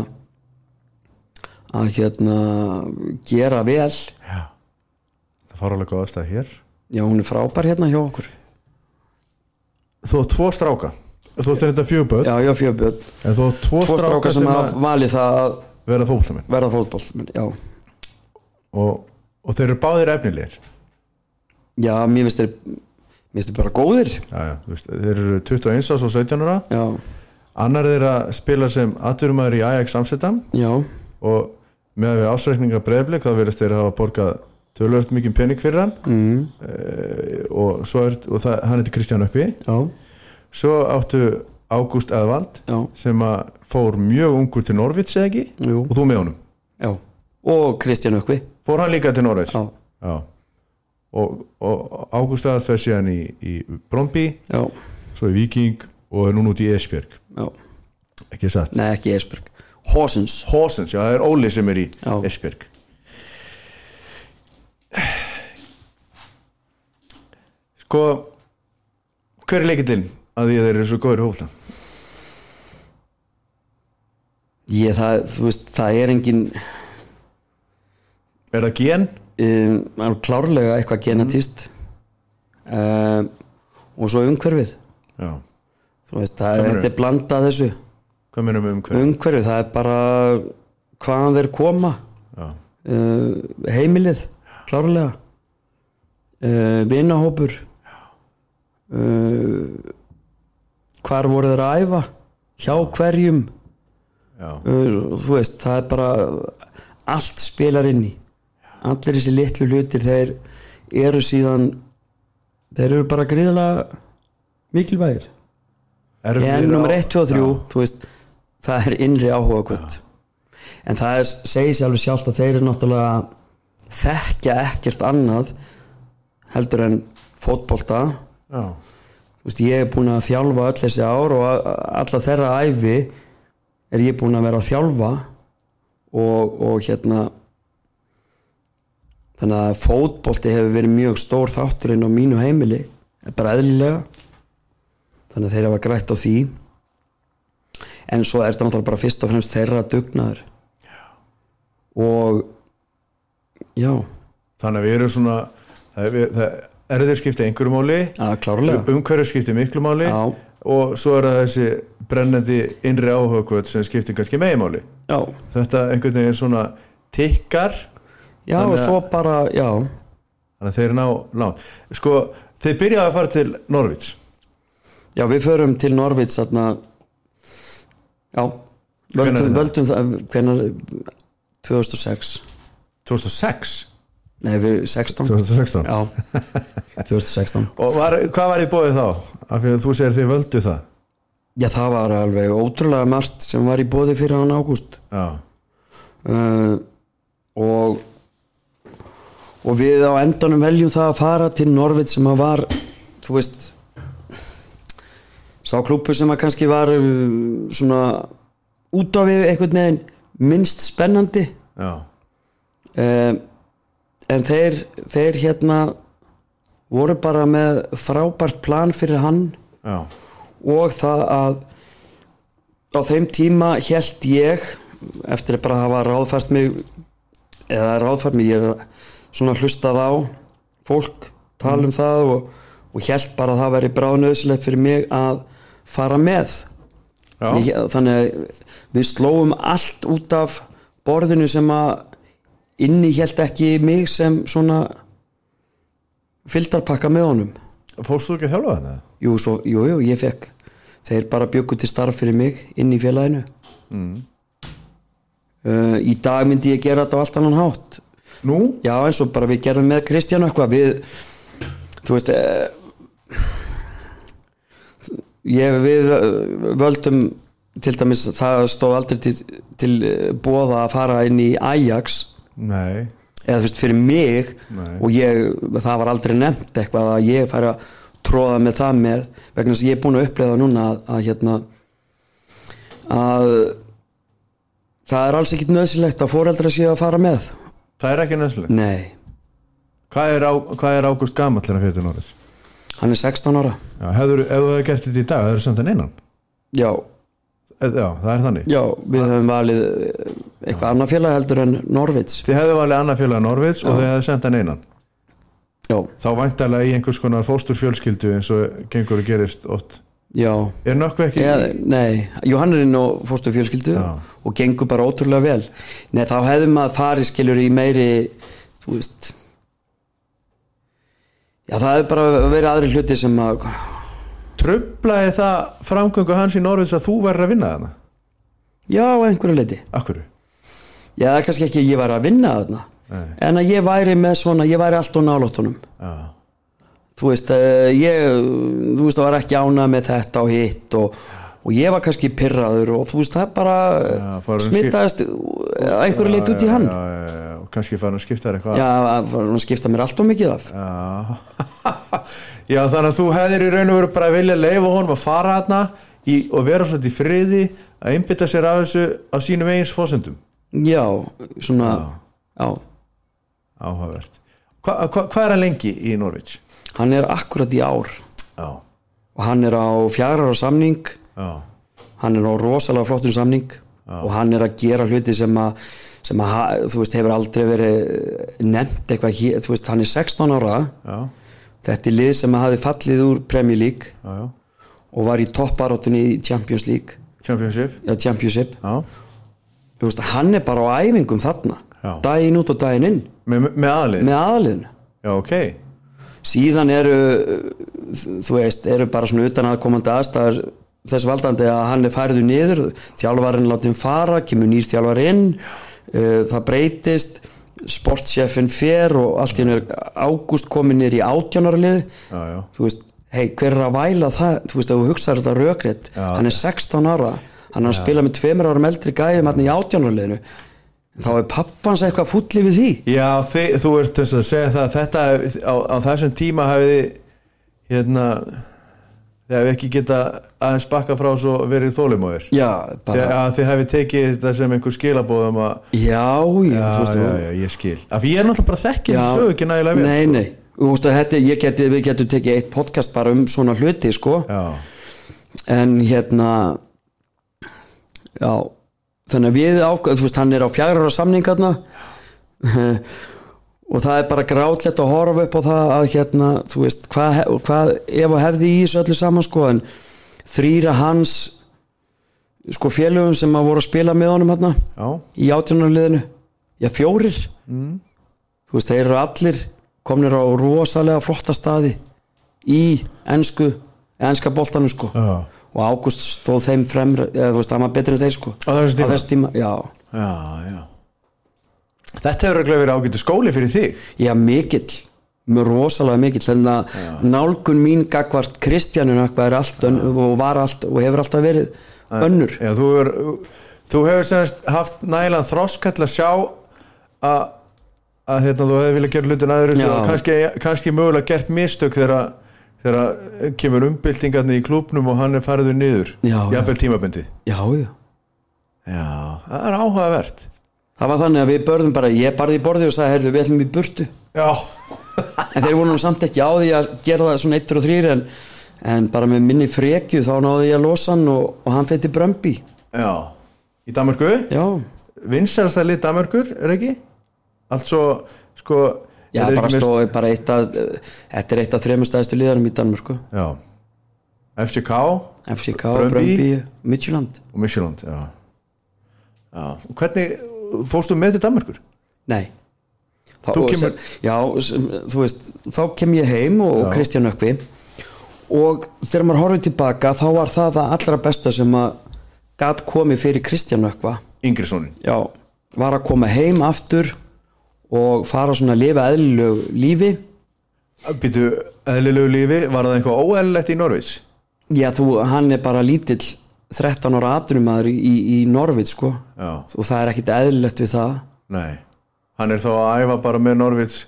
að hérna gera vel já, Já. Það fara alveg góð aðstæð hér hún er frábær hérna hjá okkur Þú átt tvo stráka Þú átt þetta fjögböð já, já, fjörbjörn, En þú átt tvo, tvo stráka sem hafa valið það að verða fótboltamenn verða fótboll já, og, og þeir eru báðir efnilegir já, mér finnst þeir mér finnst þeir bara góðir já, já, þú veist, Þeir eru 21 ás og 17 ára já, Annar þeirra spila sem atvinnumæður í Ajax Amsterdam já, og með við ásreikninga breyflik þá verðist þeir hafa borgað tölvöld mikið pening fyrir hann Eh, mm, og, svo er, og það, hann heitir Kristján Uppi já, svo áttu Ágúst Eðvald já, sem að fór mjög ungur til Norvits eða ekki Jú. og þú með honum já og Kristján Ökvi fór hann líka til Norvits já, og, og Ágúst Eðvald fer síðan í, í Bromby já, svo í Viking og er núna út í Esbjörg já ekki satt nei, ekki Esberg, Horsens Horsens, já það er Óli sem er í Já. Esbjörg sko hver er leikillinn að því að þeir eru svo góður í hófla ég, það, þú veist, það er engin er það gen? um, alveg klárlega eitthvað genetist um, og svo umhverfið já, þú veist, það, meinarðu? þetta er blandað þessu hvað mennum við um hver? umhverfið, það er bara hvaðan þeir koma já, uh, heimilið, klárlega uh, vinahópur uh, hvar voru þeir að æfa hjá hverjum já, uh, þú veist, það er bara allt spilar inn í allir þessi litlu hlutir þeir eru síðan þeir eru bara gríðalega mikilvægir Erfðir en á- nummer 1, 2 og 3, þú veist það er innri áhuga kvöld en það er, segir sér alveg sjálft að þeir eru náttúrulega þekkja ekkert annað heldur en fótbolta já, já, þú veist, ég er búin að þjálfa öll þessi ár og a- alla þeirra æfi er ég búin að vera að þjálfa og, og hérna þannig að fótbolti hefur verið mjög stór þáttur inn á mínu heimili bara eðlilega þannig að þeir hafa grætt á því en svo er þetta náttúrulega bara fyrst og fremst þeirra dugnaður og já, þannig að við erum svona það, er- við, það er þeir skipti einhverju máli að klárlega umhverju skipti miklu máli Já. og svo er það þessi brennandi innri áhugkvöld sem skipti kannski megimáli já, þetta einhvern veginn svona tikkar já Þannig og að- svo bara, já þannig að þeir ná langt sko, þeir byrjaði að fara til Norvits Já, við förum til Norvits þarna Já, Hvenær er völdum, það? völdum það hvenar 2006 2006 Nei, við 16 2016 Já, 2016 og var, hvað var í bóðið þá? af því að þú segir þeir völdu það Já, það var alveg ótrúlega margt sem var í bóði fyrir hann ágúst já, uh, og og við á endanum veljum það að fara til Norvit sem að var þú veist sá klúpu sem að kannski var uh, svona út á við einhvern veginn minnst spennandi já, um, en þeir þeir hérna voru bara með frábært plan fyrir hann já, og það að á þeim tíma held ég eftir að bara hafa ráðfært mig eða ráðfært mig ég er svona hlustað á fólk tala um það og, og held bara að það veri bráðnöðsilegt fyrir mig að fara með já, ég, þannig að við slóum allt út af borðinu sem að inni held ekki mig sem svona fylgdarpakka með honum fórst þú ekki að þjálfa þannig? Jú, svo, jú, jú, ég fekk Þeir bara bjöggu til starf fyrir mig inn í félaginu uh, í dag myndi ég gera þetta á allt annan hátt Nú? já eins og bara við gerðum með Kristján eitthvað við þú veist eh, ég, við eh, völdum til dæmis það stóð aldrei til, til bóða að fara inn í Ajax Nei eða þú veist fyrir mig Nei. og ég, það var aldrei nefnt eitthvað að ég færi að tróða með það mér vegna þess að ég er búin að upplega núna að, að hérna að það er alls ekkit nöðsilegt að foreldra séu að fara með Það er ekki nöðslega nei, Hvað er, á- hvað er Ágúst gamall hérna fyrir árið? hann er 16 ára Já, hefur, ef þú hefur gert þetta í dag, hefur þú samt hann innan já, Eh, Já, það er þannig já, við höfum valið eh, eitthvað annað félag heldur en Norvits Þið hefðu valið annað félag Norvids og þið hefðu sendt hann einan já, Þá væntalega í einhvers konar fóstur fjölskyldu eins og gengur og gerist oft já Er nökkvi ekki Eða, nei, Johannurinn og fórstu fjölskyldu Já. og gengur bara ótrúlega vel Nei, þá hefði maður farið skilur í meiri þú veist Já, það hefði bara verið aðri hluti sem að Trublaði það framgöngu hans í Norvids að þú verður að vinna þarna? Já, að einhverju leiti Akkur? Já, það er kannski ekki að ég væri að vinna þarna Nei. en að ég væri með svona, ég væri allt og nálóttunum Já. þú veist, eh, ég þú veist, það var ekki ánað með þetta og hitt og, og ég var kannski pirraður og þú veist, það bara Já, fórum skip- smittaðist að einhverju Já, leiti út í já, hann Já, já, já, já, og kannski fara að skipta þér eitthvað Já, að- að hún skipta mér allt of mikið af Já. [laughs] Já, þannig að þú hefðir í raun og veru bara að vilja leifa honum að fara þarna í, og vera svona í friði að einbytta sér af þessu á sínum eigins fósendum. Já, svona já. Áhugavert. Hva, hva, hvað er hann lengi í Norvíts? Hann er akkurat í ár Já. og hann er á fjara ára samning Já. hann er á rosalega flottum samning og hann er að gera hluti sem að sem að, ha- þú veist, hefur aldrei verið nefnt eitthvað hér, þú veist, hann er 16 ára Já. þetta er lið sem að hafi fallið úr Premier League Já, já. og var í topparóttunni í Champions League Championship. já, Championship, Já. þú veist, hann er bara á æfingum þarna, Já. daginn út og daginn inn Með, með aðlið? með aðaliðinu Já, ok. síðan eru þú veist, eru bara svona utan aðkomandi aðstæðar þess valdandi að hann er færður niður, þjálfarinn látin fara, kemur nýr þjálfari inn uh, það breytist sportsjefin fer og allt í hennu er ágúst komin nýr í átjánarlið Já, já. þú veist, hei, hver er að væla það þú veist, ef þú hugsaður þetta rökrétt Já. hann er 16 ára, hann er að spila með tveimur árum eldri gæðum hann í átjánarliðinu þá er pappans eitthvað fulli við því Já, þi, þú ert þess að segja það að þetta á, á þessum tíma hafiði hérna þegar við ekki geta aðeins bakka frá svo verið þólimóðir. já, Þið, bara, að þið hefði tekið þetta sem einhver skilabóðum að já, já, Já, þú veist, já, já, ég skil Af því ég er náttúrulega bara þekkið Já. þessu sögu ekki nægilega vel sko. Nei, nei, þú veist að þetta, ég geti, við getum tekið eitt podcast bara um svona hluti, sko Já, En hérna, já, þannig að við ákveð, þú veist, hann er á fjagrara samningarna [laughs] Og það er bara grátlegt að horfa upp á það að hérna, þú veist, hvað, hef- hvað ef og hefði í þessu öllu saman, sko En þrýra hans, sko, félögum sem að voru að spila með honum hérna já, í átjónarliðinu já fjórir mm. þú veist þeir eru allir komnir á rosalega flotta staði í ensku enska boltanum sko já, og Ágúst stóð þeim fremra eða þú veist það var betri en þeir sko Á þessu tíma? tíma já, já, já. Þetta hefur örugglega verið ágættu skóli fyrir þig já mikill mjög rosalega mikill þannig að nálgun mín gagvart Kristjánun eitthvað er allt ön, og var allt og hefur alltaf verið önnur Já, þú, er, þú hefur semst haft nægilega þroskall að sjá að, að hérna, þú hefði viljað gera hlutin aður Já. og kannski, kannski mögulega gert mistök þegar að- þegar að kemur umbyltingarni í klúbnum og hann er fariður niður Já, já. jafnvel tímabundið já já Já, það er áhugavert það var þannig að við börðum bara ég barði í borði og sagði heyrðu við ætlum í burtu Já en þeir voru nú samt ekki á því að gera það svona 1 og 3 en, en bara með minni frekju þá náði ég að losa hann og, og hann fyrir Brömbi Já, í Danmarku já, vinsælsta lið Danmarkur, er ekki? Allt svo, sko já er bara ekki með- stóði bara eitt að eh, þetta er eitt af þremur stæðstu liðanum í Danmarku Já FCK FCK, Brøndby. Brömbi, Midtjylland og Michelin Já, já. Og Hvernig fórstu með til Danmarkur? nei þá, Þú og kemur- sem, já, sem, þú veist þá kem ég heim og, og Já. Kristján Ökvi og þegar maður horfið tilbaka þá var það það allra besta sem að gat komið fyrir Kristján Ökva Ingrisonin já var að koma heim aftur og fara svona að lifa eðlilegu lífi Býtu, eðlilegu lífi, var það eitthvað óeðlilegt í Norvits? já þú, hann er bara lítill 13 ára atrumæður í, í Norvit sko Já. og það er ekkit eðlilegt við það Nei, hann er þá að æfa bara með Norvits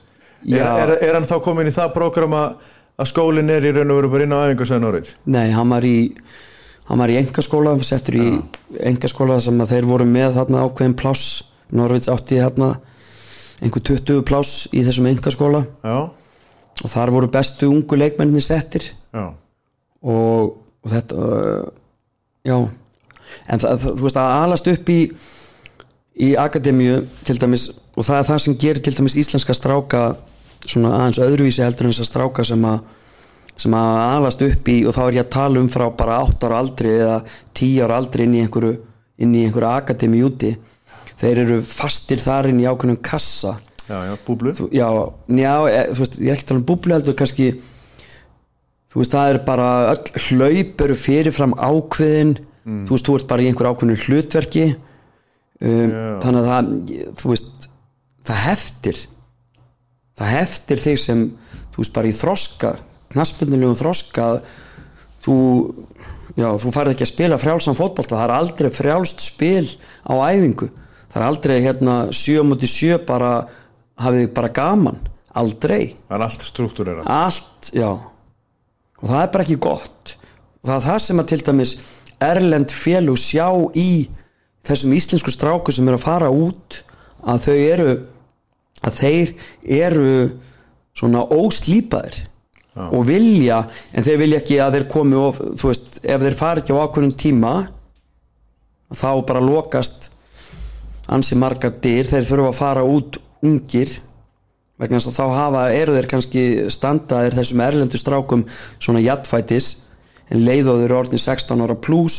er, Já. er, er hann þá komin í það prógram að að skólinn er í raun og veru bara inn á æfingu sem Norvits? nei, hann var í hann var í engaskóla, settur í engaskóla sem að þeir voru með þarna ákveðin pláss Norvits átti þarna einhver 20 pláss í þessum engaskóla Já, og þar voru bestu ungu leikmenninni settir já, og, og þetta uh, já en það, það, þú veist að alast upp í í akademíu til dæmis og það er það sem gerir til dæmis íslenska stráka svona aðeins öðruvísi heldur en þessar stráka sem að sem að alast upp í og þá er ég að tala um frá bara 8 ára aldri eða 10 ára aldri inn í einhverju inn í einhverju akademíu úti þeir eru fastir þar inn í ákveðnum kassa já, já, búblu þú, já, já, e, þú veist, ég er ekki að tala um búblu heldur kannski þú veist, það er bara öll hlaup eru fyrirfram ákveðin þú veist, þú ert bara í einhver ákveðinu hlutverki um, þannig að það þú veist, það heftir það heftir þig sem þú veist, bara í þroska knaspundinlegu þroska að þú, já, þú farið ekki að spila frjálsan fótbolta, það er aldrei frjálst spil á æfingu það er aldrei hérna 7 múti 7 bara hafið þið bara gaman aldrei, Það er allt struktúrera allt, já og það er bara ekki gott það er það sem að til dæmis erlend félug sjá í þessum íslensku stráku sem eru að fara út að þau eru að þeir eru svona óslýpaðir og vilja, en þeir vilja ekki að þeir komi of, þú veist, ef þeir fara ekki á ákveðnum tíma þá bara lokast ansi margar dyr, þeir þurfa að fara út ungir vegna þess að þá hafa, eru þeir kannski standaðir þessum erlendu strákum svona jattfætis en leið og þeir eru orðin 16 ára pluss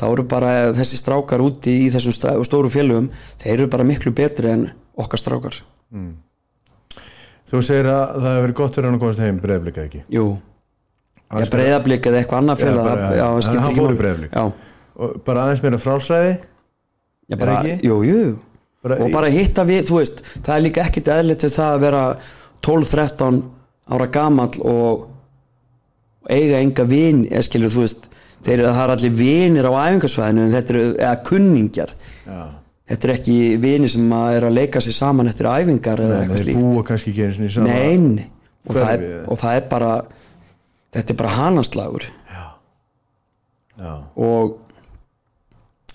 þá eru bara þessi strákar úti í þessum sta- stóru félögum þeir eru bara miklu betri en okkar strákar Þú segir að það hefur verið gott fyrir hann að komast heim breyflika ekki Jú Ég breyðablik eða eitthvað annað félag bara- það- já, já, það en skiptir hann ekki fór í máli. Breiðablik. Já, og bara aðeins meira frálsræði ég bara, ekki? jú, jú Bara Og í- bara hitta við, þú veist Það er líka ekkit eðlitt við það að vera 12-13 ára gamall og eiga enga vin eða skilur, þú veist Þeir eru það er allir vinir á æfingarsvæðinu en þetta eru, eða kunningjar Já, Þetta eru ekki vinir sem að er að leika sér saman eftir æfingar en eða eitthvað þeir slíkt búa kannski ekki eins og nýsa Nein, og það, Hverfið, er, eða? og það er bara þetta er bara hanaslagur Já, já, og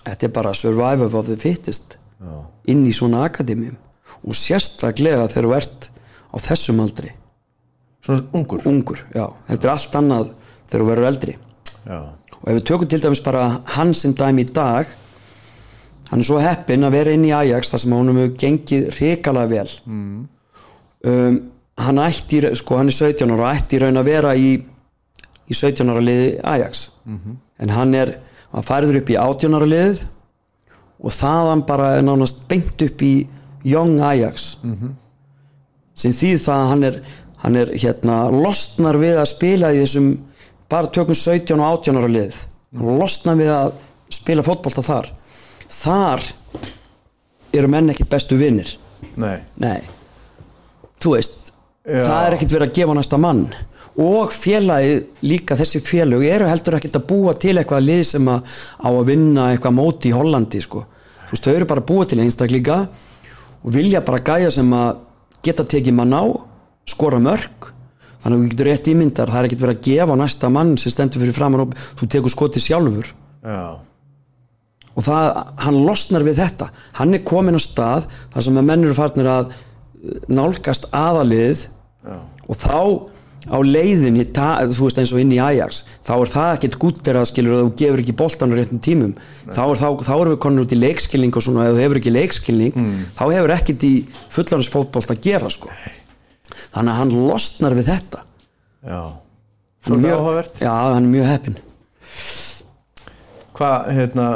þetta er bara survival of the fittest já, inn í svona akademium og sérstaklega þegar þú ert á þessum aldri, svona ungur ungur já, þetta er allt annað þegar þú verður eldri Já, og ef við tökum til dæmis bara hann sem dæmi í dag hann er svo heppinn að vera inn í Ajax þar sem honum hefur gengið hrikalega vel mm. um, hann ætti í- sko hann er 17 ára og ætti í raun að vera í, í 17 ára liði Ajax -hmm. en hann er hann færður upp í 18 ára liðið og þaðan bara er nánast beint upp í Young Ajax -hmm. sem þýð það að hann er, hann er hérna losnar við að spila í þessum bara tökum 17 og 18 ára lið hann losnar við að spila fótbolta þar þar eru menn ekkit bestu vinnir nei nei, þú veist Já. það er ekkit verið að gefa næsta mann og félagið líka þessi félög eru heldur ekkit að búa til eitthvað lið sem að, á að vinna eitthvað móti í Hollandi sko. þú veist, þau eru bara að búa til einstaklinga og vilja bara gæja sem að geta tekið mann á, skora mörg þannig að þú getur rétt ímyndar það er ekkit verið að gefa næsta mann sem stendur fyrir framann og þú tekur skotið sjálfur Já, og það, hann losnar við þetta hann er komin á stað þar sem að menn eru farnir að eh, nálgast aðalið já, og þá á leiðinni ta, þú veist eins og inn í Ajax þá er það ekkert gúttir að skilur að þú gefur ekki boltan á réttum tímum þá, er, þá, þá erum við konin út í leikskilning og svona ef þú hefur ekki leikskilning Mm. þá hefur ekkert í fullarinsfótbolt að gera sko. þannig að hann losnar við þetta já Hann er Svona áhugavert já, hann er mjög heppin Hvað, hérna,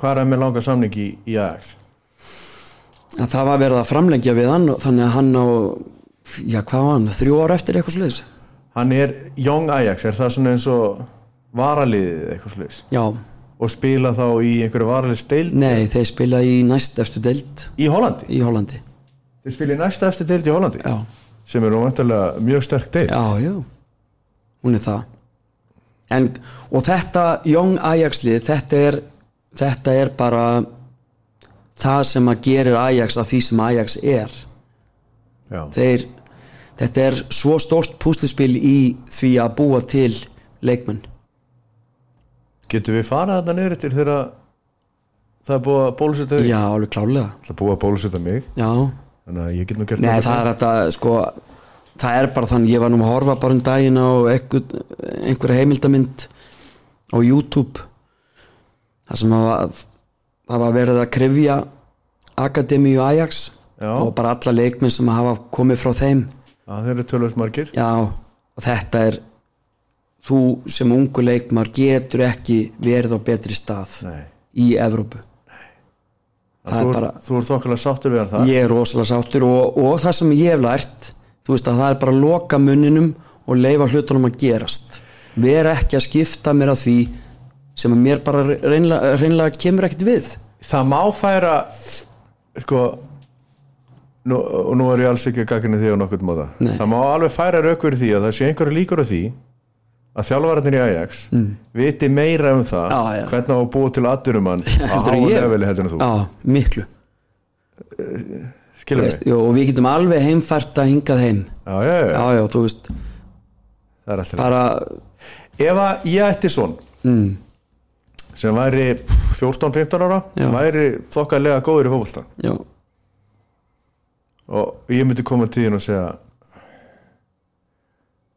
hvað er hann með langa samning í, í Ajax? að það var verið að framlengja við hann og þannig að hann á já hvað var hann, þrjú ára eftir eitthvað sliðis Hann er Young Ajax, er það svona eins og varaliðið eitthvað sluðis? já, og spila þá í einhverju varlega steild Nei, þeir spila í næst eftir deild í Hollandi í Hollandi þeir spila í næsta eftir deild í Hollandi Já, sem er óvæntalega mjög sterk deild já, já Hún er það en, Og þetta Young Ajax lið þetta er, þetta er bara það sem að gerir Ajax að því sem Ajax er já, Þeir, Þetta er svo stórt púsluspil í því að búa til leikmenn getum við farað þarna niður eftir þegar það er búið að bólusetja þig? Já, alveg klálega það er búið að bólusetja mig Já, þannig að ég get nú gert Nei, þetta. það er þetta, sko það er bara þannig, ég var nú að horfa bara um daginn á einhver, einhverja heimildamynd á YouTube það sem að var- það var verið að krifja Akademíu Ajax Já. og bara alla leikmenn sem hafa komið frá þeim Já, þeir eru tölvöld margir já, og þetta er þú sem ungu leikmar getur ekki verið á betri stað Nei. í Evrópu það þú, er ert- bara þú ert þokkalega sáttur við hann það ég er rosalega sáttur og, og það sem ég hef lært þú veist að það er bara að loka munninum og leifa hlutunum að gerast vera ekki að skipta mér að því sem að mér bara reynlega, reynlega kemur ekkert við það má færa sko nú, og nú er ég alls ekki að gagna því á nokkurn móta Nei. það má alveg færa rauk fyrir því að það sé einhverju líkur á því að þjálfararnir í Ajax viti meira um það Mm. Já, já. hvernig á að búa til atvinnumann á [laughs] Heldur en háu ég? leveli heldur en þú á, miklu skilur mig, veist, jó, og við getum alveg heimfært að hingað heim já, já, já, já, já, þú veist það er alltaf bara, ef að ég ætti svon mm, sem væri 14-15 ára Já. væri þokkalega góður í fótbolta já, og ég myndi koma til þín og segja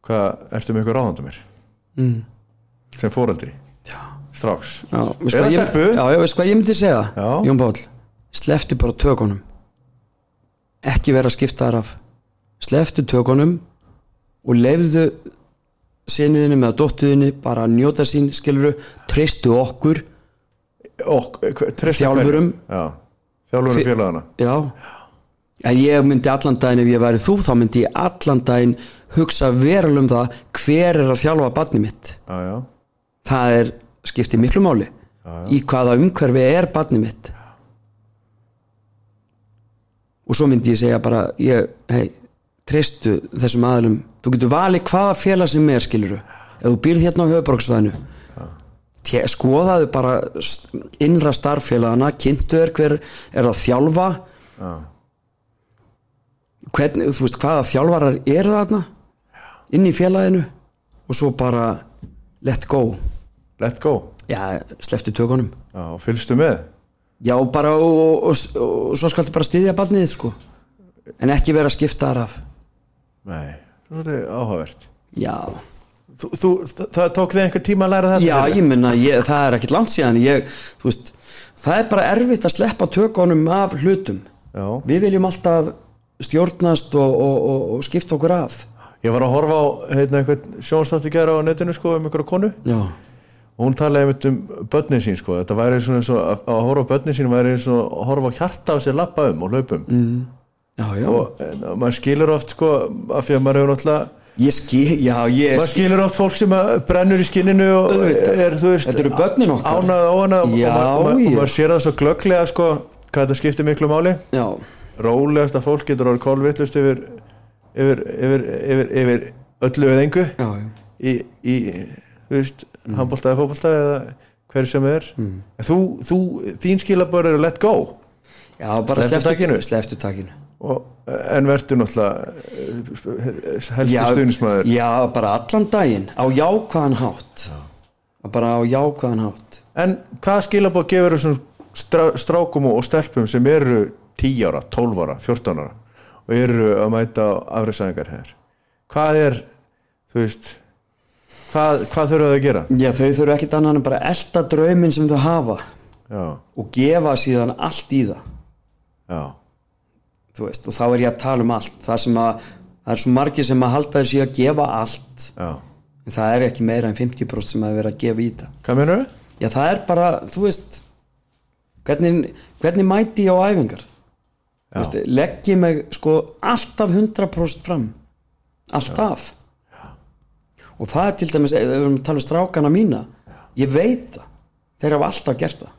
hvað, ertu með eitthvað ráðandi mér mm, sem foreldri, já, strax já, veist Eða hvað ég, stelpu. já, já, veist hvað ég myndi segja Já. Jón Páll, sleftu bara tökunum ekki vera að skipta þar af sleftu tökunum og leifðu sinniðinni með dóttuðinni bara að njóta sín, skiluru treystu okkur, og hver- treysta Þjálfurum. hverju? Já, þjálfurum Þi- félagana já en ég myndi allan daginn ef ég væri þú þá myndi ég allan daginn hugsa verulega um það hver er að þjálfa barni mitt já, já, það er skipti miklu máli í hvaða umhverfi er barni mitt og svo myndi ég segja bara ég, hei, treystu þessum aðlum þú getur valið hvaða félag sem er skiluru ef þú býrð hérna á höfuborgsvæðinu Té- skoðaðu bara st- innra starffélagana kynntu er hver er að þjálfa já. hvernig, þú veist, hvaða þjálfarar eru þarna inn í félaginu og svo bara let go let go já, sleftu tökunum já, og fylgstu með Já, bara og, og, og, og svo skaltu bara styðja barnið þitt, sko En ekki vera að skipta þar af nei, þetta er áhugavert Já, þú, þú, það, það tók þig einhver tíma að læra þetta já Heyrðu? ég menna, ég, það er ekkit langt síðan ég, þú veist, Það er bara erfitt að sleppa tökunum af hlutum já. Við viljum alltaf stjórnast og, og, og, og skipta okkur af ég var að horfa á heitna, einhvern sjónstátt í gera á netinu sko, um einhverja konu Já, og hún talaði einmitt um börnin sín sko. þetta væri svona eins og að, að horfa á börnin sín væri eins og að horfa á hjarta á sér lappa um og hlaupum mm. já, já og en, maður skilur oft sko, af því að maður hefur náttúrulega Ég skil, já, ég maður skilur oft fólk sem að brennur í skinninu og Auðvitað. er þú veist Þetta eru börnin okkar ánað og ánað Já, og maður- og maður- og ég- maður sér það svo glögglega sko, hvað þetta skiptir miklu máli Já, rólegast að fólk getur orðið kólvillust yfir, yfir, yfir, yfir, yfir öllu eða engu já, já í, í þú veist, mm. handbóltaði, fótbóltaði eða hver sem er mm. þú, þú, þín skilabör eru let go Já, bara Slepptu takinu. Sleftu takinu og, en verður náttúrulega eh, helstu stuðnismæður já, bara allan daginn á jákvæðan hátt já. bara á jákvæðan hátt en hvað skilabör gefur þessum strá, strákum og stelpum sem eru 10 ára, 12 ára, 14 ára og eru að mæta afriðsæðingar hér hvað er, þú veist hvað, hvað þurfa þau að gera já, þau þurfu ekkit annan en bara að elta drauminn sem þau hafa já, og gefa síðan allt í það já, þú veist, og þá er ég að tala um allt það sem að, það er svo margir sem að halda þessi að gefa allt já en það er ekki meira en 50% sem að vera að gefa í það hvað menur þau? já, það er bara, þú veist hvernig, hvernig mæti ég á æfingar Þú veist, legg ég mig sko alltaf 100% fram alltaf og það er til dæmis, ef við erum að tala um strákana mína ég veit það þeir hafa alltaf gert það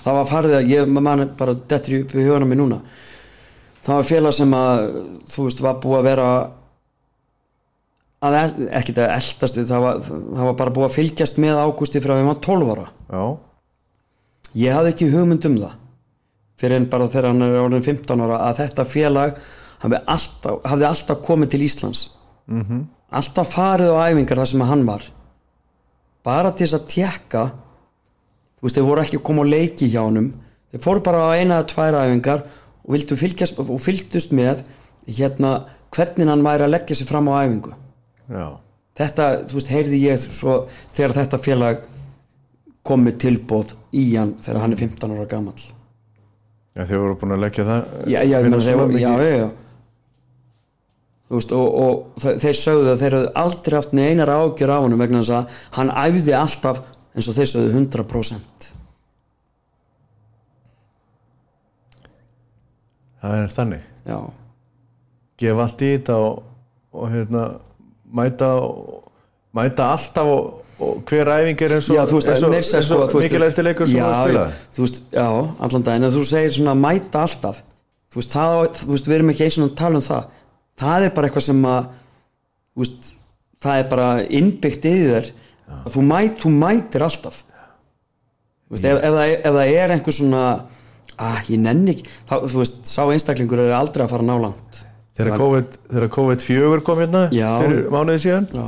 það var farið að ég man bara dettur í- upp í hugana mér núna það var félag sem að þú veist var búið að vera að el, ekkit að eldast við, það var, það var bara búið að fylgjast með ágústi frá því maður 12 ára já, ég hafði ekki hugmynd um það fyrir en bara þegar hann er orðin 15 ára að þetta félag hafði alltaf, hafði alltaf komið til Íslands -hmm. alltaf farið á æfingar þar sem hann var bara til þess að tjekka þú veist, þeir voru ekki að koma á leiki hjá honum þeir fóru bara á eina eða tvær æfingar og, vildu fylgjast, og fylgdust með hérna, hvernig hann væri að leggja sig fram á æfingu já, þetta, þú veist, heyrði ég svo þegar þetta félag kom með tilbóð í hann þegar hann er 15 ára gamall já þeir voru búin að leggja það já, já, vinna menn, svo þeir, mikið. já, já, já þú veist, og, og þe- þeir sögðu að þeir hafðu aldrei haft neinar ágjör af honum vegna þess að hann æfði alltaf eins og þeir sögðu 100% það er þannig já, gefa allt í þetta og, og hérna, mæta og, mæta alltaf og, og hver æfing er eins og, já, þú veist, eins og, meira að segja, eins og þú veist, mikilvægsti leikur sem já, þú spilaði þú veist, já, allan daginn en þú segir svona að mæta alltaf þú veist, það, á- þú veist, við erum ekki eins og að tala um það það er bara eitthvað sem að þú veist, það er bara innbyggt í þér að þú, mæt, þú mætir alltaf Þú veist, ef, ef, það, ef það er einhver svona að ég nenni ekki þá, þú veist, sá einstaklingur er aldrei að fara nálangt þegar COVID, þegar COVID 4 kom hérna Já. fyrir mánuði síðan já,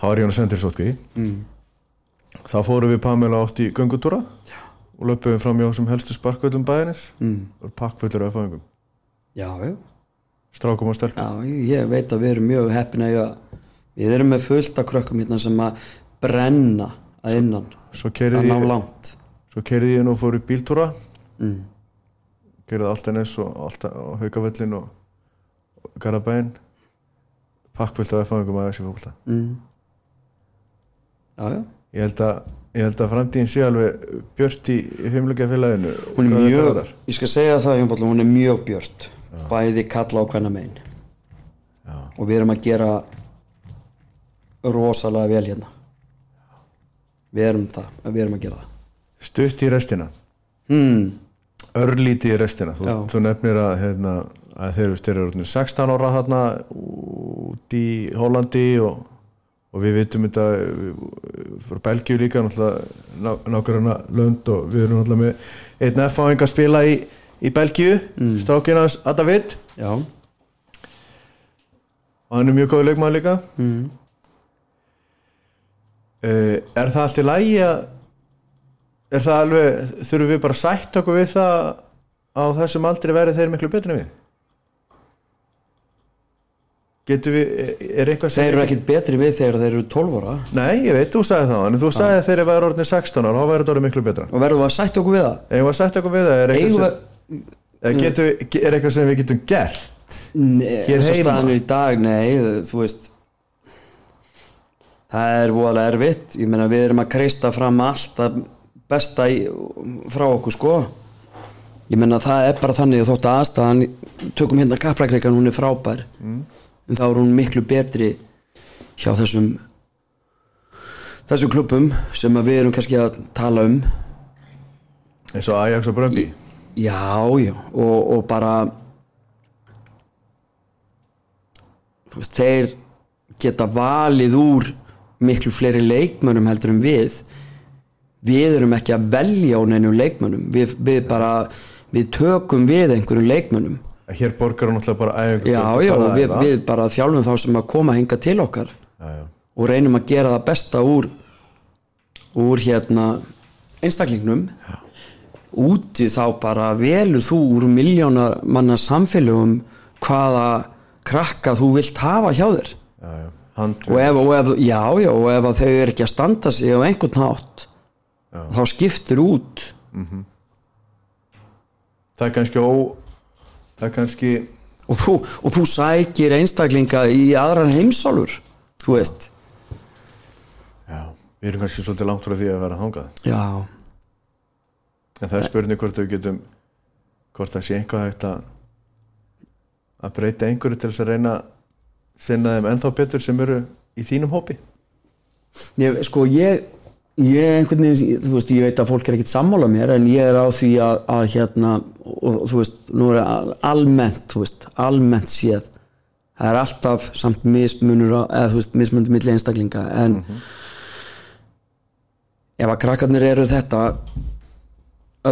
þá var ég hann að senda þér sótkví mm. þá fórum við Pamela átt í göngutúra Já. og löpum við fram hjá sem helstu sparkvöldum bæðinis mm. og pakkvöldur af fangum já, já strákum og stelp Já, ég veit að við erum mjög heppin að eiga- við erum með fullt af krökkum hérna sem að brenna að innan svo að keyrði ná ég, langt svo keyrði ég nú og fór í bíltúra mm. gerði Altanes og, Alta, og Haukavöllin og, og Garabæin pakkvöld af fangum aðeins í fólkvölda Mm. Já, já ég held að Ég held að framtíðin sé alveg björt í heimleikafélaginu. Hún er mjög, ég skal segja það Jón Páll, hún er mjög björt bæði kalla á hvenna megin og við erum að gera rosalega vel hérna við erum það við erum að gera það Stutt í restina. mm. örlítið í restina þú, Já. þú nefnir að, hérna, að þeir eru styrjur 16 ára þarna út í Hollandi og, og við vitum þetta við- frá Belgíu líka nákvæmna lönd og við erum náttúrulega með einn F-áing að spila í, í Belgíu mm. strákina Adavid Já, og hann er mjög góður leikmaður líka mm. Hmm. Eh, er það allt í lægi að er það alveg þurfum við bara að sætt okkur við það á þessum aldrei verið þeir miklu betri en við getum við eh, er eitthvað þeir eru ekkit betri en við þegar þeir eru 12 ára nei ég veit þú sagði það en Ah. þú sagði að þeir eru verið orðinir 16 ára þá verður þetta orðið miklu betra og verðum við að sætt okkur við það eigum við að sætt okkur við það er eigum eitthvað, við sem, eða getum, við- er eitthvað sem við getum gert Nei, Hér eins og heima? staðan er í dag, nei, þú veist það er voðalega erfitt ég meina við erum að kreista fram allt að besta í, frá okkur sko ég meina það er bara þannig þótt að aðstæðan tökum hérna kaplakreikan, hún er frábær Mm. en þá er hún miklu betri hjá þessum þessum klubbum sem að við erum kannski að tala um eins og Ajax og Bröndi Já, já, og, og bara þú veist, þeir geta valið úr miklu fleiri leikmönnum heldur en við við erum ekki að velja á neinum leikmönnum við, við bara, við tökum við einhverjum leikmönnum hér borgar hún alltaf bara æfingu já, já, og við, við bara þjálfum þá sem að koma hinga til okkar já, já. og reynum að gera það besta úr úr hérna einstaklingnum úti þá bara velur þú úr miljónar manna samfélögum hvaða krakka þú vilt hafa hjá þér já, já. Handri, og ef, og ef, já, já, og ef að þau eru ekki að standa sig á einhvern hátt þá skiptir út það er kannski ó það er kannski og þú, og þú sækir einstaklinga í aðran heimsálur þú veist já. við erum kannski svolítið langt frá því að vera hangað já, en það er spurning hvort við getum hvort það sé einhvað hægt að að breyta einhverju til þess að reyna að sinna þeim ennþá betur sem eru í þínum hópi Ég, sko ég ég einhvern veginn, þú veist, ég veit að fólk er ekkert sammála mér en ég er á því að, að hérna, og, og þú veist, nú er al- almennt, þú veist, almennt séð það er alltaf samt mismunur, á- eða þú veist, mismunur milli einstaklinga, en ef að krakkarnir eru þetta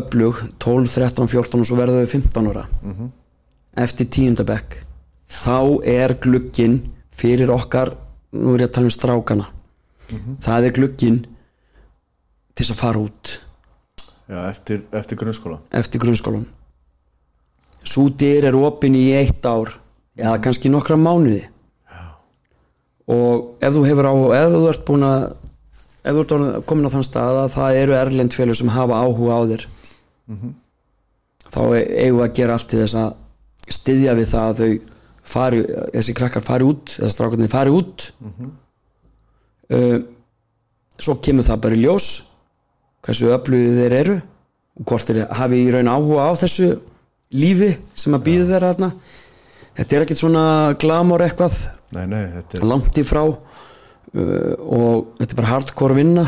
öflug 12, 13, 14 og svo verða við 15 ára eftir tíundabekk þá er glugginn fyrir okkar, nú er ég að tala um strákana það er glugginn til þess að fara út Já, eftir, eftir grunnskóla eftir grunnskólan svo dyr er opin í eitt ár eða kannski nokkra mánuði og ef þú hefur á ef þú ert búin að ef þú ert orðinn- komin á þann stað að það eru erlend félög sem hafa áhuga á þér þá e- eigum við að gera allt til þess að styðja við það að þau fari, þessi krakkar fari út eða strákarnir fari út uh, svo kemur það bara í ljós hversu öflugði þeir eru og hvort þeir hafi í raun áhuga á þessu lífi sem að býðu þeirra þarna þetta er ekkert svona glamor eitthvað Nei, nei, þetta er langt í frá uh, og þetta er bara hardcore vinna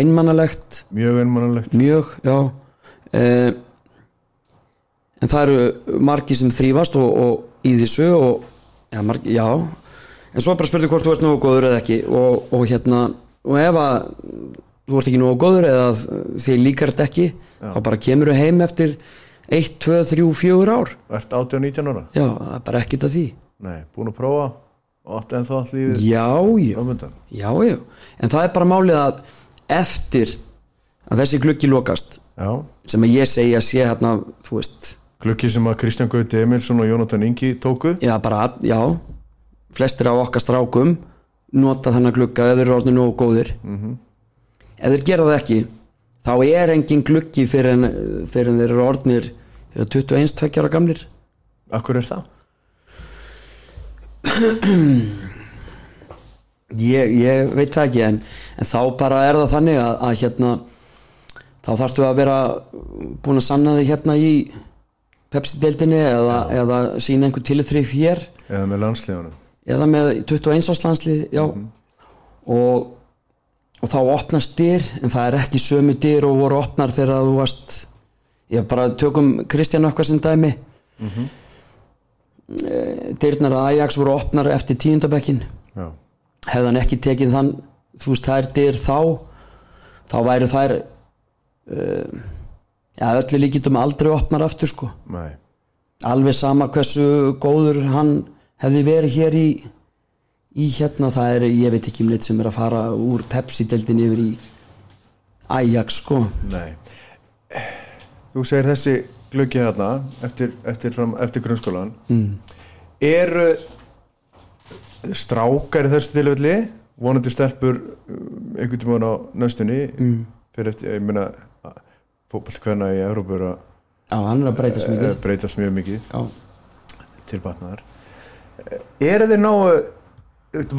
einmannalegt mjög einmannalegt mjög, já uh, en það eru margi sem þrýfast og, og í þessu og, ja, margi, já en svo er bara spurði hvort þú ert nógu góður eða ekki og, og hérna, og ef að þú ert ekki nógu góður eða þig líkar þetta ekki, þá bara kemur þú heim eftir 1, 2, 3, 4 ár Ert 18 og 19 ára? já, það er bara ekkert að því Nei, búin að prófa og átt ennþá allt lífið já, já ömundan Já, já, en það er bara málið að eftir að þessi gluggi lokast Já, sem að ég segi að sé hérna, þú veist glukki sem að Kristján Gauti Emilsson og Jónatan Ingi tóku já, bara, að- já, flestir af okkar strákum nota þennan glugga ef þeir eru orðinu nógu góðir ef þeir gera það ekki þá er engin gluggi fyrir en, fyrir en þeir eru orðnir 21-20 ára gamlir Akkur er það? ég, ég veit það ekki en, en þá bara er það þannig að, að hérna þá þarftu að vera búin að sanna þig hérna í Pepsi-deildinni eða, eða sína einhver tilþrif hér Eða með landsliðunum eða með 21 áslandslið já og, og þá opnast dyr en það er ekki sömu dyr og voru opnar þegar þú varst ég bara tökum Kristján okkar sem dæmi mm dyrnar að Ajax voru opnar eftir tíundabekkin Já, hefði hann ekki tekið þann þú veist þær dyr þá þá væri þær uh, ja, öllu líkitum aldrei opnar aftur sko nei, alveg sama hversu góður hann hefði verið hér í í hérna það er ég veit ekki um leitt sem er að fara úr Pepsi-deldin yfir í Ajax sko nei Þú segir þessi glukki hérna eftir, eftir, fram, eftir grunnskólan mm. Eru strákar í þessu tilfelli vonandi stelpur um, einhvern tímann á nöstunni mm. fyrir eftir, ég meina fótballkvenna í Európa eru að á hann er að breytast eh, mikið breytast mjög mikið já, til batnaðar Eh, er þið náu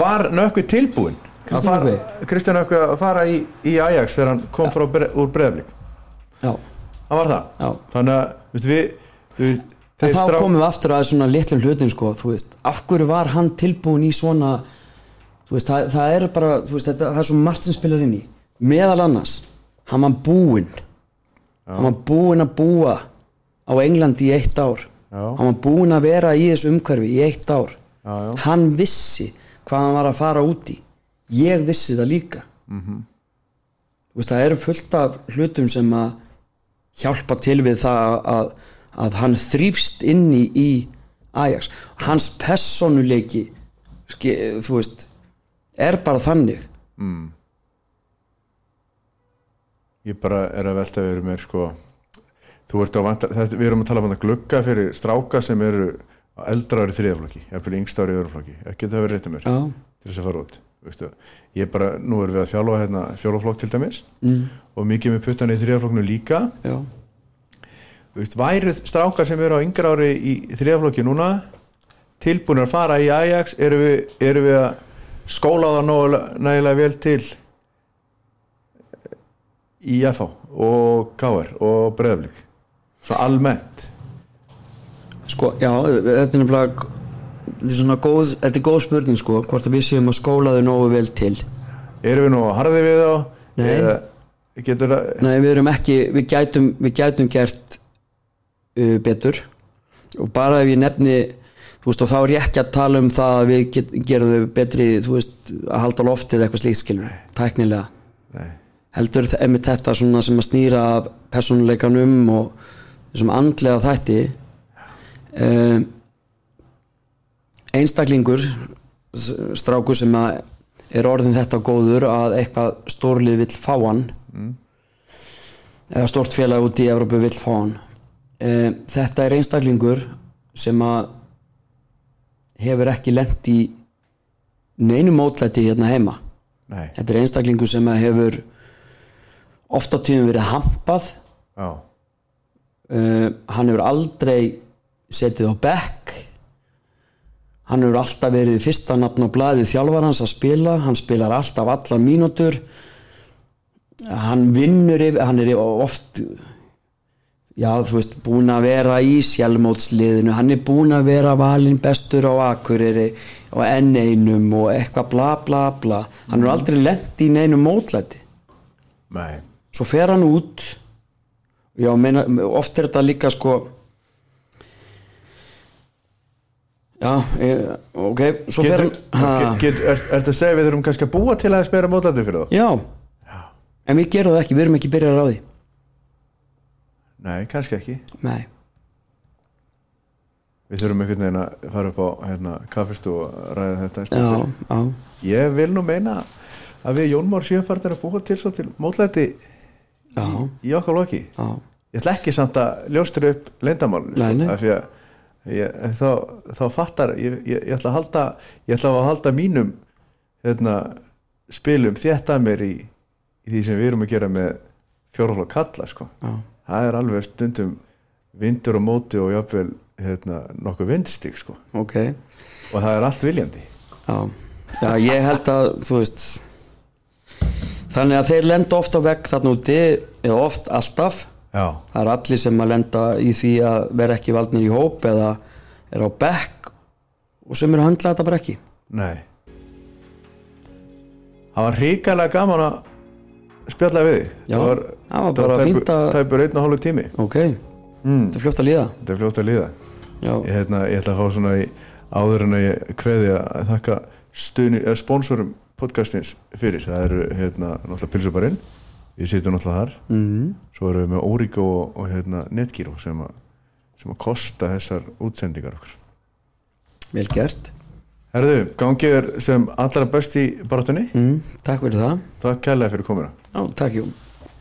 var nökkvi tilbúin Kristján Nökkvi? Kristján Nökkvi að fara í, í Ajax þegar hann kom frá bre, úr breyðaflik já, hann var það já. þannig að veit, við, við en þá komum við aftur að svona litlum hlutin sko, þú veist, af hverju var hann tilbúin í svona þú veist, það, það er bara, þú veist, þetta, það er svo margt sem spilar inn í, meðal annars hann var búinn hann var búinn að búa á Englandi í eitt ár Já. hann var búinn að vera í þessu umhverfi í eitt ár, Já, já. hann vissi hvað hann var að fara út í ég vissi það líka mm Mhm. veist, það eru fullt af hlutum sem að hjálpa til við það að, að hann þrýfst inni í Ajax hans personuleiki ske, þú veist er bara þannig ég bara er að velta við mér sko þú ert að vanta þetta, við erum að tala um að glugga fyrir stráka sem eru eldra ári þriðaflokki eða yngsta ári öðruflokki ekki það verið rétt um mér já, til þess að fara út veistu. ég bara, nú erum við að þjálfa hérna, fjólaflokk til dæmis mm. og mikið með puttana í þriðaflokknu líka já, Vist, væru strákar sem eru á yngra ári í þriðaflokki núna tilbúin að fara í Ajax eru við, eru við að skóla það nógulega- nægilega vel til eh, í FH og KR og Breiðaflik svo almennt sko, já þetta er nefnilega þetta er svona góð, þetta er góð spurning sko hvort að við séum að skóla þau nógu vel til erum við nú harði við þá Nei. eða getur það Nei, við erum ekki, við gætum, við gætum gert uh, betur og bara ef ég nefni þú veist og þá er ég ekki að tala um það að við get, gerum þau betri, þú veist að halda loftið eða eitthvað slíkt skilur tæknilega, Nei. heldur þ- einmitt þetta svona sem að snýra af persónuleikanum og þessum andlega þætti um, einstaklingur s- strákur sem að er orðin þetta góður að eitthvað stórlið vill fá hann eða stórt félag út í Evrópu vill fá hann e, þetta er einstaklingur sem að hefur ekki lent í neinu mótlæti hérna heima Nei. þetta er einstaklingur sem að hefur ofta tíðum verið hampað Já. uh, hann hefur aldrei setið á bekk hann hefur alltaf verið fyrsta nafn á blaði þjálfarans að spila hann spilar alltaf allar mínútur hann vinnur yfir, hann er oft já þú veist búin að vera í sjálfmótsliðinu hann er búin að vera valinn bestur á Akureyri og enn einum og eitthvað bla bla bla hann er aldrei lent í neinum mótlæti Nei. svo fer hann út já, meina, oft er þetta líka sko já, e, ok svo fer Getur, hann ha, get, get, er, er það að segja að við þurfum kannski að búa til aðeins meira mótlandi fyrir þá? já, en við gerum það ekki, við erum ekki byrjar á því Nei, kannski ekki. nei, Við þurfum einhvern veginn að fara upp á hérna, kaffist og ræða þetta. eins já, betur. já Ég vil nú meina að við Jónmár séum farnir að búa til svo til mótlandi já, í okkar loki. já, Ég ætla ekki samt að ljóstra upp leyndamálinu. Nei, nei. Af því að ég, þá, þá fattar, ég, ég, ég, ætla að halda, ég ætla að halda mínum hérna, spilum þétta mér í, í því sem við erum að gera með fjórhóla kalla, sko. já, það er alveg stundum vindur og móti og jafnvel hérna, nokkuð vindstík sko ok og það er allt viljandi já, já, ég held að þú veist þannig að þeir lenda ofta vekk þarna úti eða oft alltaf já, það er allir sem að lenda í því að vera ekki valdnir í hóp eða er á bekk og sem eru að höndla þetta bara ekki nei það var hrikalega gaman að spjalla við þig. Já, það var, það var bara tæpur- fínt að- tæpur einn og hálfu tími ok, þetta er fljótt að líða þetta er fljótt að líða já, ég, hérna, ég ætla að fá svona í áður en að ég kveði að þakka stuni, eða, sponsorum podcastins fyrir það eru hérna náttúrulega pilsubarinn við sitjum náttúrulega þar mm, svo erum við með Origo og, og hérna, Netgyro sem að, sem að kosta þessar útsendingar okkur vel gert Herðu, gangið er sem allra best í baráttunni mm, takk fyrir það Takk kærlega fyrir komuna já, takk Jón